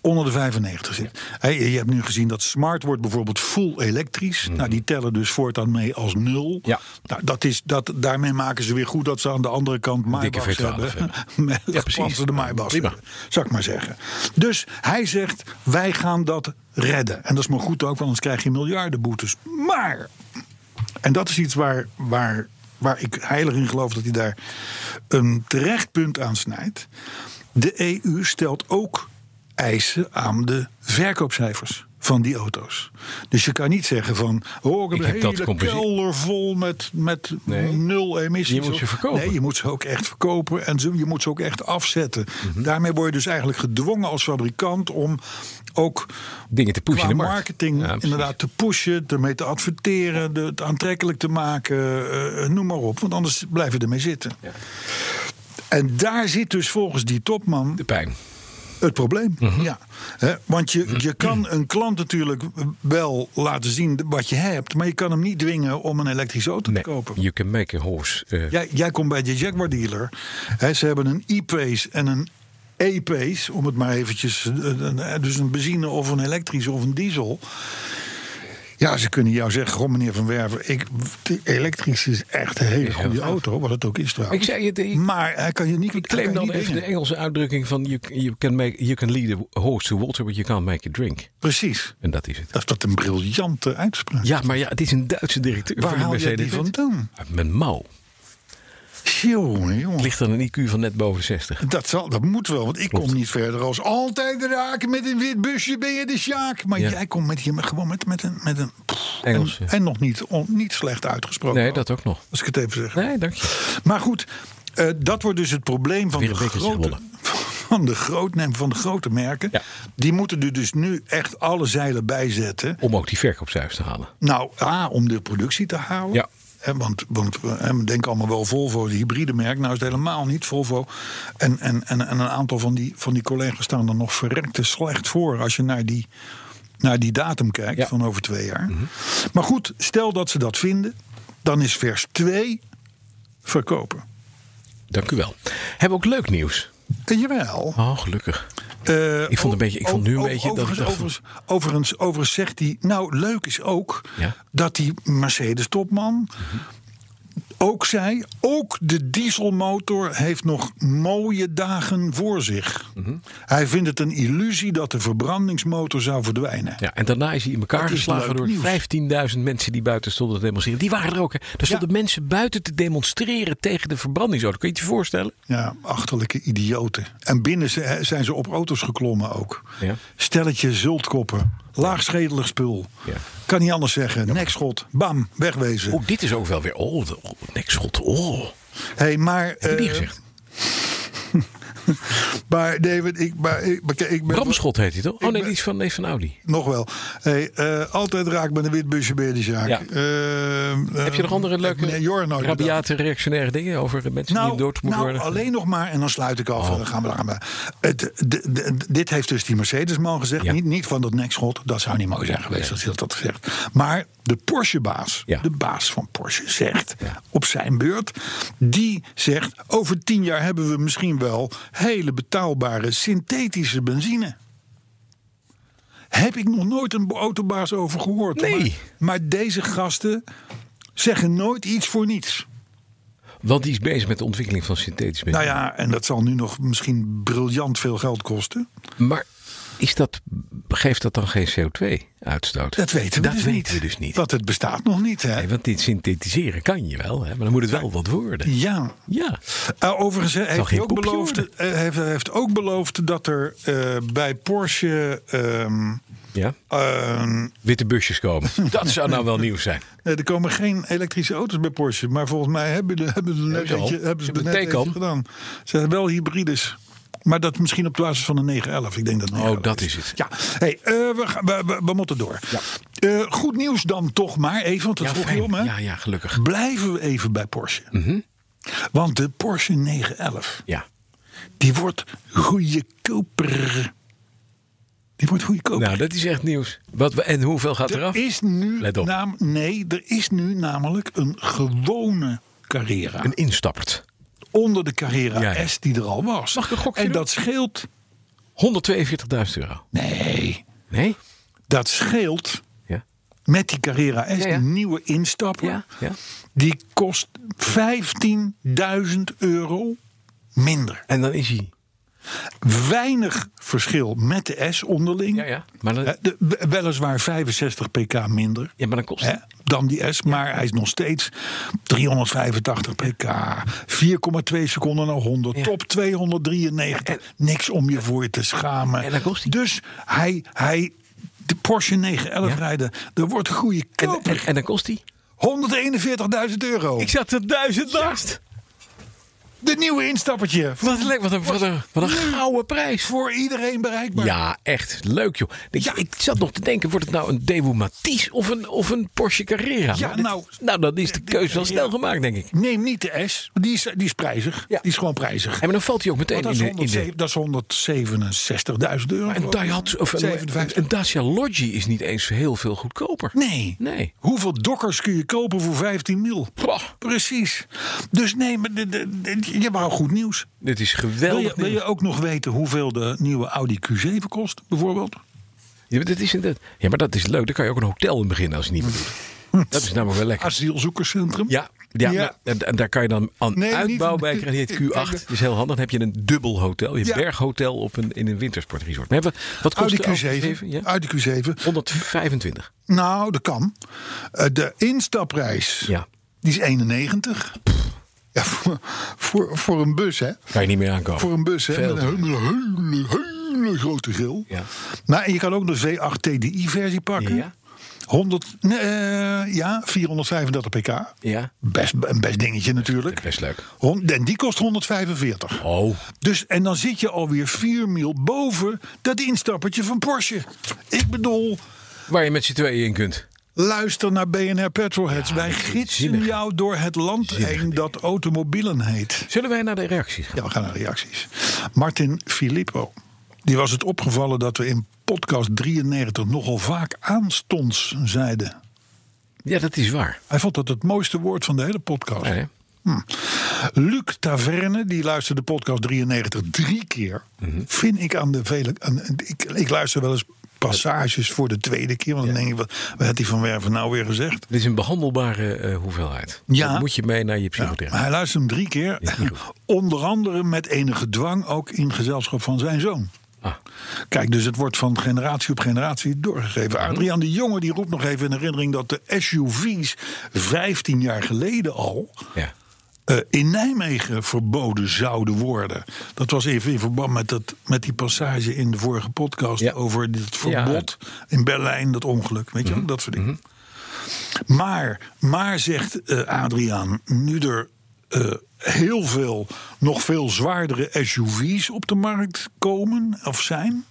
B: onder de 95 zit. Hey, je hebt nu gezien dat Smart wordt bijvoorbeeld full elektrisch. Nou, die tellen dus voortaan mee als nul.
C: Mhm. Ja.
B: Nou, dat is, dat, daarmee maken ze weer goed dat ze aan de andere kant Maybachs
C: dikke V12
B: hebben.
C: hebben.
B: Met
C: Ja,
B: ja,
C: precies.
B: de Maybachs.
C: Prima.
B: Zou ik maar zeggen. Dus hij zegt, wij gaan dat redden. En dat is maar goed ook, want anders krijg je miljardenboetes. Maar en dat is iets waar, waar, waar ik heilig in geloof dat hij daar een terecht punt aan snijdt. E De EU stelt ook eisen aan de verkoopcijfers van die auto's. Dus je kan niet zeggen van, oh, ik heb
C: Ik
B: een
C: heb dat
B: hele
C: composi-
B: kelder vol met, met
C: Nee.
B: nul emissies.
C: Je moet ze verkopen.
B: Nee, je moet ze ook echt verkopen en zo- je moet ze ook echt afzetten.
C: Mhm.
B: Daarmee word je dus eigenlijk gedwongen als fabrikant om ook
C: Dingen te pushen
B: qua
C: in de markt.
B: marketing
C: Ja, precies.
B: inderdaad te pushen, ermee te adverteren, de- het aantrekkelijk te maken, eh, eh, noem maar op. Want anders blijven we ermee zitten. En daar zit dus volgens die topman
C: De Mhm. pijn.
B: het probleem. ja. Hè, want
C: Mhm.
B: je, je kan een klant natuurlijk wel laten zien wat je hebt, maar je kan hem niet dwingen om een elektrische auto
C: Nee,
B: te kopen.
C: you can make a horse. eh,
B: Jij, jij komt bij de Jaguar dealer. Hè, ze hebben een E-Pace en een E-Pace, om het maar eventjes. eh, eh, Dus een benzine of een elektrische of een diesel. Ja, ze kunnen jou zeggen, goh meneer Van Werven, ik, de elektrisch is echt een hele goede
C: gaaf.
B: auto, wat het ook is
C: Ik
B: trouwens.
C: zei het, ik-
B: maar hij kan je niet...
C: Ik
B: hij
C: claim
B: kan
C: dan
B: niet
C: even de
B: dwingen.
C: Engelse uitdrukking van you, you, can make, you can lead a horse to water, but you can't make it drink.
B: Precies.
C: En dat is het.
B: Dat is dat een briljante uitspraak.
C: Ja, maar ja, het is een Duitse directeur
B: Waar
C: van de
B: haal jij
C: Mercedes.
B: die vandaan?
C: Met mouw.
B: Jongen, jongen.
C: Ligt dan een IQ van net boven de 60.
B: Dat, zal, dat moet wel, want ik kom niet verder als altijd raken met een wit busje ben je de Sjaak. Maar
C: Ja.
B: jij komt met, je- gewoon met, met een... Met een pff,
C: Engels,
B: en,
C: ja.
B: en nog niet, on- niet slecht uitgesproken.
C: Nee, dat ook nog.
B: Als ik het even zeg.
C: Nee, dank je.
B: Maar goed, eh, dat wordt dus het probleem van
C: Weer
B: de
C: een bekertje
B: grote...
C: gewonnen.
B: Van de, groot, nee, van de grote merken.
C: Ja.
B: Die moeten er dus nu echt alle zeilen bij zetten.
C: Om ook die verkoopcijfers te halen.
B: Nou, A, om de productie te houden.
C: Ja.
B: Hè, want, want eh, we denken allemaal wel Volvo, de hybride merk. Nou is het helemaal niet Volvo. En, en, en, en een aantal van die, van die collega's staan er nog verrekte slecht voor... als je naar die, naar die datum kijkt
C: Ja. Mhm.
B: van over twee jaar. Maar goed, stel dat ze dat vinden. Dan is vers 2 verkopen.
C: Dank u wel. Hebben we ook leuk nieuws?
B: En jawel.
C: Oh, gelukkig.
B: Eh,
C: Ik vond een
B: o-
C: beetje- ik vond nu een
B: o-
C: beetje dat ik
B: overigens,
C: dacht van-
B: overigens, overigens, overigens zegt hij, nou leuk is ook
C: Ja.
B: dat die Mercedes topman ook zei, ook de dieselmotor heeft nog mooie dagen voor zich.
C: Mhm.
B: Hij vindt het een illusie dat de verbrandingsmotor zou verdwijnen.
C: Ja, en daarna is hij in elkaar
B: Dat is
C: geslagen
B: leuk
C: door
B: nieuws.
C: 15.000 mensen die buiten stonden te demonstreren. Die waren er ook. Hè. Er stonden
B: Ja.
C: mensen buiten te demonstreren tegen de verbrandingsauto. Kun je het je voorstellen?
B: Ja, achterlijke idioten. En binnen ze- zijn ze op auto's geklommen ook.
C: Ja.
B: Stelletje zultkoppen. Laagschedelig spul.
C: Ja.
B: Kan niet anders zeggen. Nekschot. Bam. Wegwezen.
C: Oh, dit is ook wel weer. Oh, de- oh nekschot. Oh.
B: Hey, maar,
C: Heb je die
B: eh,
C: gezegd?
B: Maar David, ik, maar, ik, maar kijk, ik ben
C: Bramschot heet hij toch? Oh nee,
B: ben-
C: die is van, nee, van Audi.
B: nog wel. Hey, eh, altijd raak met een wit busje bij de zaak. Ehm,
C: Ja. Heb
B: Eh,
C: je nog andere leuke
B: Nee, Jor nooit bedacht.
C: rabiate reactionaire dingen over de mensen die
B: Nou,
C: door moeten
B: nou
C: worden? Oh.
B: alleen nog maar, en dan sluit ik af. en Dan gaan we daar maar. Het, de- de- dit heeft dus die Mercedes-man gezegd.
C: Ja.
B: Niet, niet van dat nekschot, dat zou niet mooi zijn geweest als hij dat had gezegd. Maar de Porsche-baas,
C: Ja.
B: de baas van Porsche, zegt op zijn beurt: die zegt, over tien jaar hebben we misschien wel hele betaalbare synthetische benzine. Heb ik nog nooit een autobaas over gehoord.
C: Nee.
B: Maar, maar deze gasten zeggen nooit iets voor niets.
C: Want die is bezig met de ontwikkeling van synthetisch benzine.
B: Nou ja, en dat zal nu nog misschien briljant veel geld kosten.
C: Maar is dat, geeft dat dan geen CO2-uitstoot?
B: Dat weten we,
C: dat
B: dus,
C: weten
B: niet.
C: we dus niet.
B: Want het bestaat nog niet, hè?
C: Nee, want dit synthetiseren kan je wel, hè? maar dan moet het wel wat worden.
B: Ja.
C: Ja.
B: Eh, overigens eh, heeft
C: geen
B: hij, ook
C: poepje
B: beloofd,
C: worden.
B: eh, heeft, hij heeft ook beloofd dat er eh, bij Porsche. ehm,
C: ja.
B: ehm,
C: Witte busjes komen. Dat zou nou wel nieuws zijn.
B: nee, er komen geen elektrische auto's bij Porsche. Maar volgens mij hebben, de, hebben ze er net
C: ze al.
B: eentje, hebben ze
C: Ze
B: er
C: hebben
B: net
C: een Taycan.
B: eentje gedaan. Ze zijn wel hybrides. Maar dat misschien op basis van een 911. Ik denk Oh, dat 911
C: Oh, dat is het.
B: Ja, hey, eh, we, gaan- we, we, we moeten door. Eh, goed nieuws dan toch maar even, want dat
C: Ja,
B: vroeg je
C: fijn.
B: om. Hè? Mm.
C: Ja, Mhm. ja, gelukkig.
B: Blijven we even bij Porsche. Want de Porsche 911,
C: Ja.
B: die wordt goedkoper. Die wordt goedkoper.
C: Nou, dat is echt nieuws. Wat, we- en hoeveel gaat eraf?
B: er is nu
C: Let op.
B: naam- nee, er is nu namelijk een gewone Carrera.
C: Een instappert.
B: onder de Carrera
C: Ja, ja.
B: S die er al was.
C: Mag ik een gokje
B: en
C: doen?
B: dat scheelt.
C: 142.000 euro.
B: Nee,
C: Nee?
B: dat scheelt
C: Ja.
B: met die Carrera S,
C: Ja, ja.
B: die nieuwe instapper.
C: Ja, ja.
B: Die kost 15.000 euro minder.
C: En dan is hij.
B: Weinig verschil met de S onderling.
C: Ja, ja. Maar dan,
B: Eh, de- we- weliswaar 65 pk minder.
C: ja, maar dan kost
B: hè, Dan die S, maar hij is nog steeds 385 pk, 4,2 seconden naar 100,
C: Ja.
B: top 293. Niks om je voor je te schamen.
C: En dan kost hij.
B: Dus hij, hij de Porsche 911
C: Ja.
B: rijden. Er wordt goede
C: En, en,
B: koper.
C: en dan kost die?
B: 141.000 euro.
C: Ik zat er duizend naast.
B: De nieuwe instappertje.
C: Wat een, wat een, wat een, wat een gouden prijs.
B: Voor iedereen bereikbaar.
C: Ja, echt. Leuk joh. Ik, ik zat nog te denken, wordt het nou een Dewo Matisse of een, of een Porsche Carrera?
B: Ja,
C: Maar dit-
B: nou-
C: nou, dan is de keuze wel snel gemaakt, denk ik.
B: Neem niet de S. want Die is, die is prijzig.
C: Ja.
B: Die is gewoon prijzig.
C: En maar dan valt hij ook meteen
B: Want dat
C: in
B: is,
C: de... In de
B: 107 dat is 167.000 euro.
C: een Daihatsu of een,
B: 57.
C: een Dacia Logi is niet eens heel veel goedkoper.
B: Nee.
C: Nee.
B: Hoeveel dokkers kun je kopen voor 15 mil?
C: Goh.
B: Precies. Dus nee, maar de- de- de- je hebt wel goed nieuws.
C: Dit is
B: Wil je,
C: geweldig.
B: wil je ook nog weten hoeveel de nieuwe Audi Q7 kost, bijvoorbeeld?
C: Ja, maar dat is inderdaad- ja, maar dat is leuk. Daar kan je ook een hotel in beginnen als je niet meer doet. Dat is namelijk wel lekker.
B: Asielzoekerscentrum?
C: Ja, ja,
B: Hmm. Ja.
C: maar- en, en daar kan je dan aan
B: Nee, niet-
C: uitbouw bij krijgen. Die heet Q8. Dat is heel handig. Dan heb je een dubbel hotel. Je hebt
B: Ja.
C: berghotel op een, in een wintersportresort. Maar hebben, we- wat kost
B: Audi
C: de
B: Q7.
C: Ja?
B: Audi Q7.
C: 125.
B: Nou, dat kan. Eh, De instapprijs,
C: Ja.
B: die is 91. Ja, voor, voor, voor een bus, hè?
C: Kan je niet meer aankomen.
B: Voor een bus, hè?
C: Veel
B: Met
C: te-
B: een hele, hele, hele grote grill.
C: Ja.
B: Nou, en je kan ook de V8 TDI-versie pakken.
C: Ja.
B: 100, nee, eh, ja, 435 pk.
C: Ja.
B: Best, een best dingetje natuurlijk.
C: Best leuk.
B: Hon- En die kost 145.
C: Oh.
B: Dus, en dan zit je alweer 4 mil boven dat instappertje van Porsche. Ik bedoel,
C: Waar je met z'n tweeën in kunt.
B: luister naar BNR Petrolheads. Wij gidsen
C: zinnige-
B: jou door het land heen dat automobielen heet.
C: Zullen wij naar de reacties gaan?
B: Ja, we gaan naar reacties. Martin Filippo. Die was het opgevallen dat we in podcast 93 nogal vaak aanstonds zeiden.
C: Ja, dat is waar.
B: Hij vond dat het mooiste woord van de hele podcast. Hm.
C: Ja, hè?
B: Luc Taverne, die luisterde podcast 93 drie keer. Vind ik aan de vele. aan- ik, ik luister wel eens passages voor de tweede keer. Want dan denk ik, wat, wat had hij van Werven nou weer gezegd?
C: Dit is een behandelbare eh, hoeveelheid.
B: Ja.
C: Dat moet je mee naar je
B: Maar
C: psychotherapeut.
B: Nou, hij luisterde hem drie keer.
C: Is niet goed.
B: Onder andere met enige dwang ook in gezelschap van zijn zoon.
C: Ah,
B: Kijk, dus het wordt van generatie op generatie doorgegeven.
C: Mhm.
B: Adriaan de Jonge die roept nog even in herinnering dat de SUV's 15 jaar geleden al
C: ja.
B: eh, in Nijmegen verboden zouden worden. Dat was even in verband met, dat, met die passage in de vorige podcast
C: Ja. Mhm.
B: over dit verbod in Berlijn, dat ongeluk. Weet je wel, dat soort dingen. Maar, maar zegt eh, Adriaan, nu er eh, heel veel, nog veel zwaardere SUV's op de markt komen of zijn,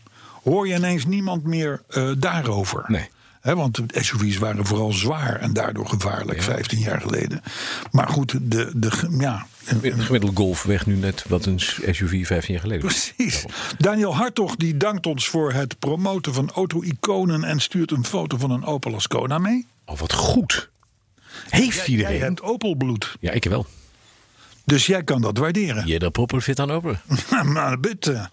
B: hoor je ineens niemand meer eh, daarover.
C: Nee.
B: Hè, want de SUV's waren vooral zwaar en daardoor gevaarlijk 15 jaar geleden. Maar goed, de, de, ge- ja, eh, een-
C: Een gemiddelde golf weg nu net wat een SUV 15 jaar geleden. was.
B: Precies. Daniel Hartog die dankt ons voor het promoten van auto-iconen en stuurt een foto van een Opel Ascona mee.
C: Oh, wat goed. Heeft
B: Jij
C: iedereen?
B: hebt Opel-bloed,
C: Ja, ik wel.
B: dus jij kan dat waarderen.
C: Jeder popper fit aan open.
B: maar bitte.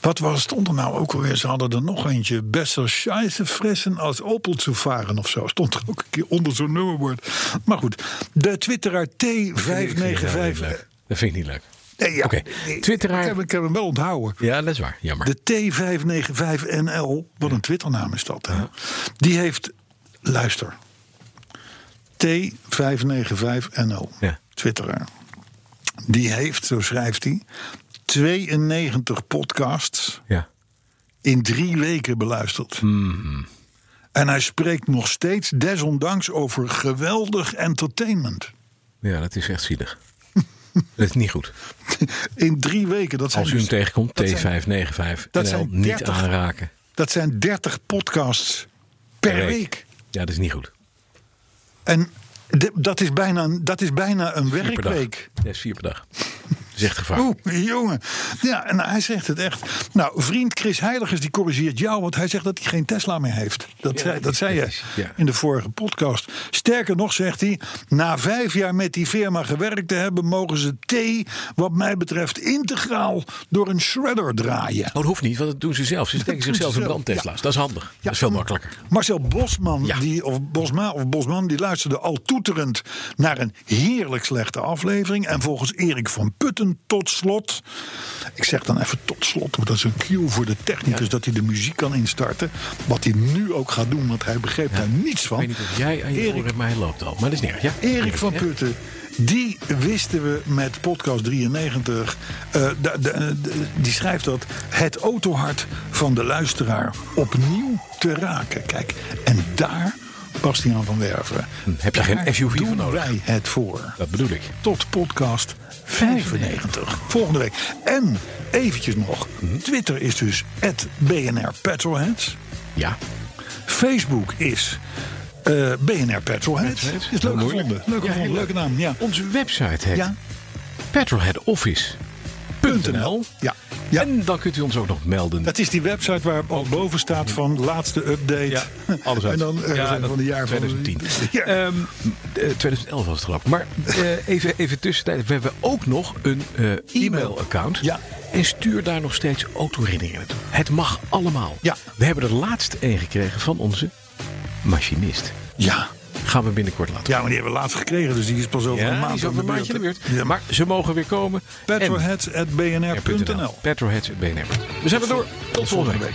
B: Wat was, stond er nou ook alweer? Ze hadden er nog eentje. Besser scheisse fressen als Opel te varen of zo. Stond er ook een keer onder zo'n nummerwoord. Maar goed, de twitteraar T595.
C: Dat vind ik niet leuk.
B: Nee, ja.
C: Oké, twitteraar-
B: Ik heb, ik heb hem wel onthouden.
C: Ja, dat is waar. Jammer.
B: De T595NL, wat een Twitternaam is dat. hè? Die heeft, luister, T595NL,
C: Ja.
B: Twitteraar. Die heeft, zo schrijft hij, 92 podcasts
C: Ja.
B: in drie weken beluisterd.
C: Mhm.
B: En hij spreekt nog steeds desondanks over geweldig entertainment.
C: ja, dat is echt zielig. dat is niet goed.
B: In drie weken, dat zijn,
C: Als u hem
B: dus-
C: tegenkomt,
B: dat zijn-
C: T595,
B: dat
C: NL,
B: zijn
C: niet
B: 30
C: aanraken.
B: dat zijn 30 podcasts per week.
C: Ja, dat is niet goed.
B: En de- dat, is bijna, een- dat is bijna een
C: Vier per dag.
B: werkweek.
C: Ja, is vier per dag. Dat is echt gevaarlijk.
B: Oeh, jongen. Ja, en hij zegt het echt. Nou, vriend Chris Heiligers die corrigeert jou, want hij zegt dat hij geen Tesla meer heeft. Dat zei, dat zei
C: dat
B: je
C: is- ja.
B: in de vorige podcast. Sterker nog, zegt hij, na vijf jaar met die firma gewerkt te hebben, mogen ze thee, wat mij betreft, integraal door een shredder draaien.
C: Oh, dat hoeft niet, want dat doen ze zelf. Ze steken
B: doen
C: zichzelf
B: ze
C: in
B: zelf.
C: brandtesla's. Dat is handig. Dat is veel makkelijker.
B: Marcel Bosman,
C: Ja.
B: die, of Bosma of Bosman, die luisterde al toeterend naar een heerlijk slechte aflevering. En volgens Erik van Putten En tot slot, ik zeg dan even tot slot, want dat is een cue voor de technicus dat hij de muziek kan instarten. Wat hij nu ook gaat doen, want hij begreep daar niets
C: Ik
B: van.
C: weet niet of jij aan je
B: Erik-
C: oren hebt, maar hij loopt al. Maar dat is niet erg. Ja?
B: Erik van
C: hè?
B: Putten, die wisten we met podcast 93. eh, de- de- de- die schrijft dat het autohart van de luisteraar opnieuw te raken. Kijk, en daar Bastiaan van Werven.
C: Hm, heb je geen
B: daar
C: SUV voor
B: doen
C: nodig.
B: wij het voor.
C: Dat bedoel ik.
B: Tot podcast 95. Volgende week. En eventjes nog.
C: Hm.
B: Twitter is dus BNR Petrolheads.
C: Ja.
B: Facebook is eh, BNR Petrolheads.
C: Petrolheads.
B: Is leuk
C: Heel mooi.
B: gevonden. Leuk
C: Ja,
B: gevonden.
C: heel
B: Leuke naam. Ja.
C: Onze website heet
B: Ja.
C: petrolheadoffice.nl.
B: Ja. ja.
C: En dan kunt u ons ook nog melden.
B: dat is die website waar al boven staat van laatste update.
C: Ja, alles uit.
B: En dan eh,
C: Ja, dat-
B: van de jaar van
C: 2010.
B: Ja.
C: Ehm, eh, 2011 was het geloof ik. Maar eh, even, even tussentijd. We hebben ook nog een eh, e-mail-account.
B: Ja.
C: En stuur daar nog steeds autoherinneringen naartoe. Het mag allemaal.
B: Ja.
C: We hebben er laatst een gekregen van onze machinist.
B: ja.
C: Gaan we binnenkort laten
B: ja, maar die hebben we laatst gekregen, dus die is pas over een
C: Ja, die
B: maand
C: is over een maandje in de buurt.
B: Ja.
C: Maar ze mogen weer komen. En-
B: Petroheads.bnr.nl
C: Petroheads.bnr. We zijn er door. Tot volgende week.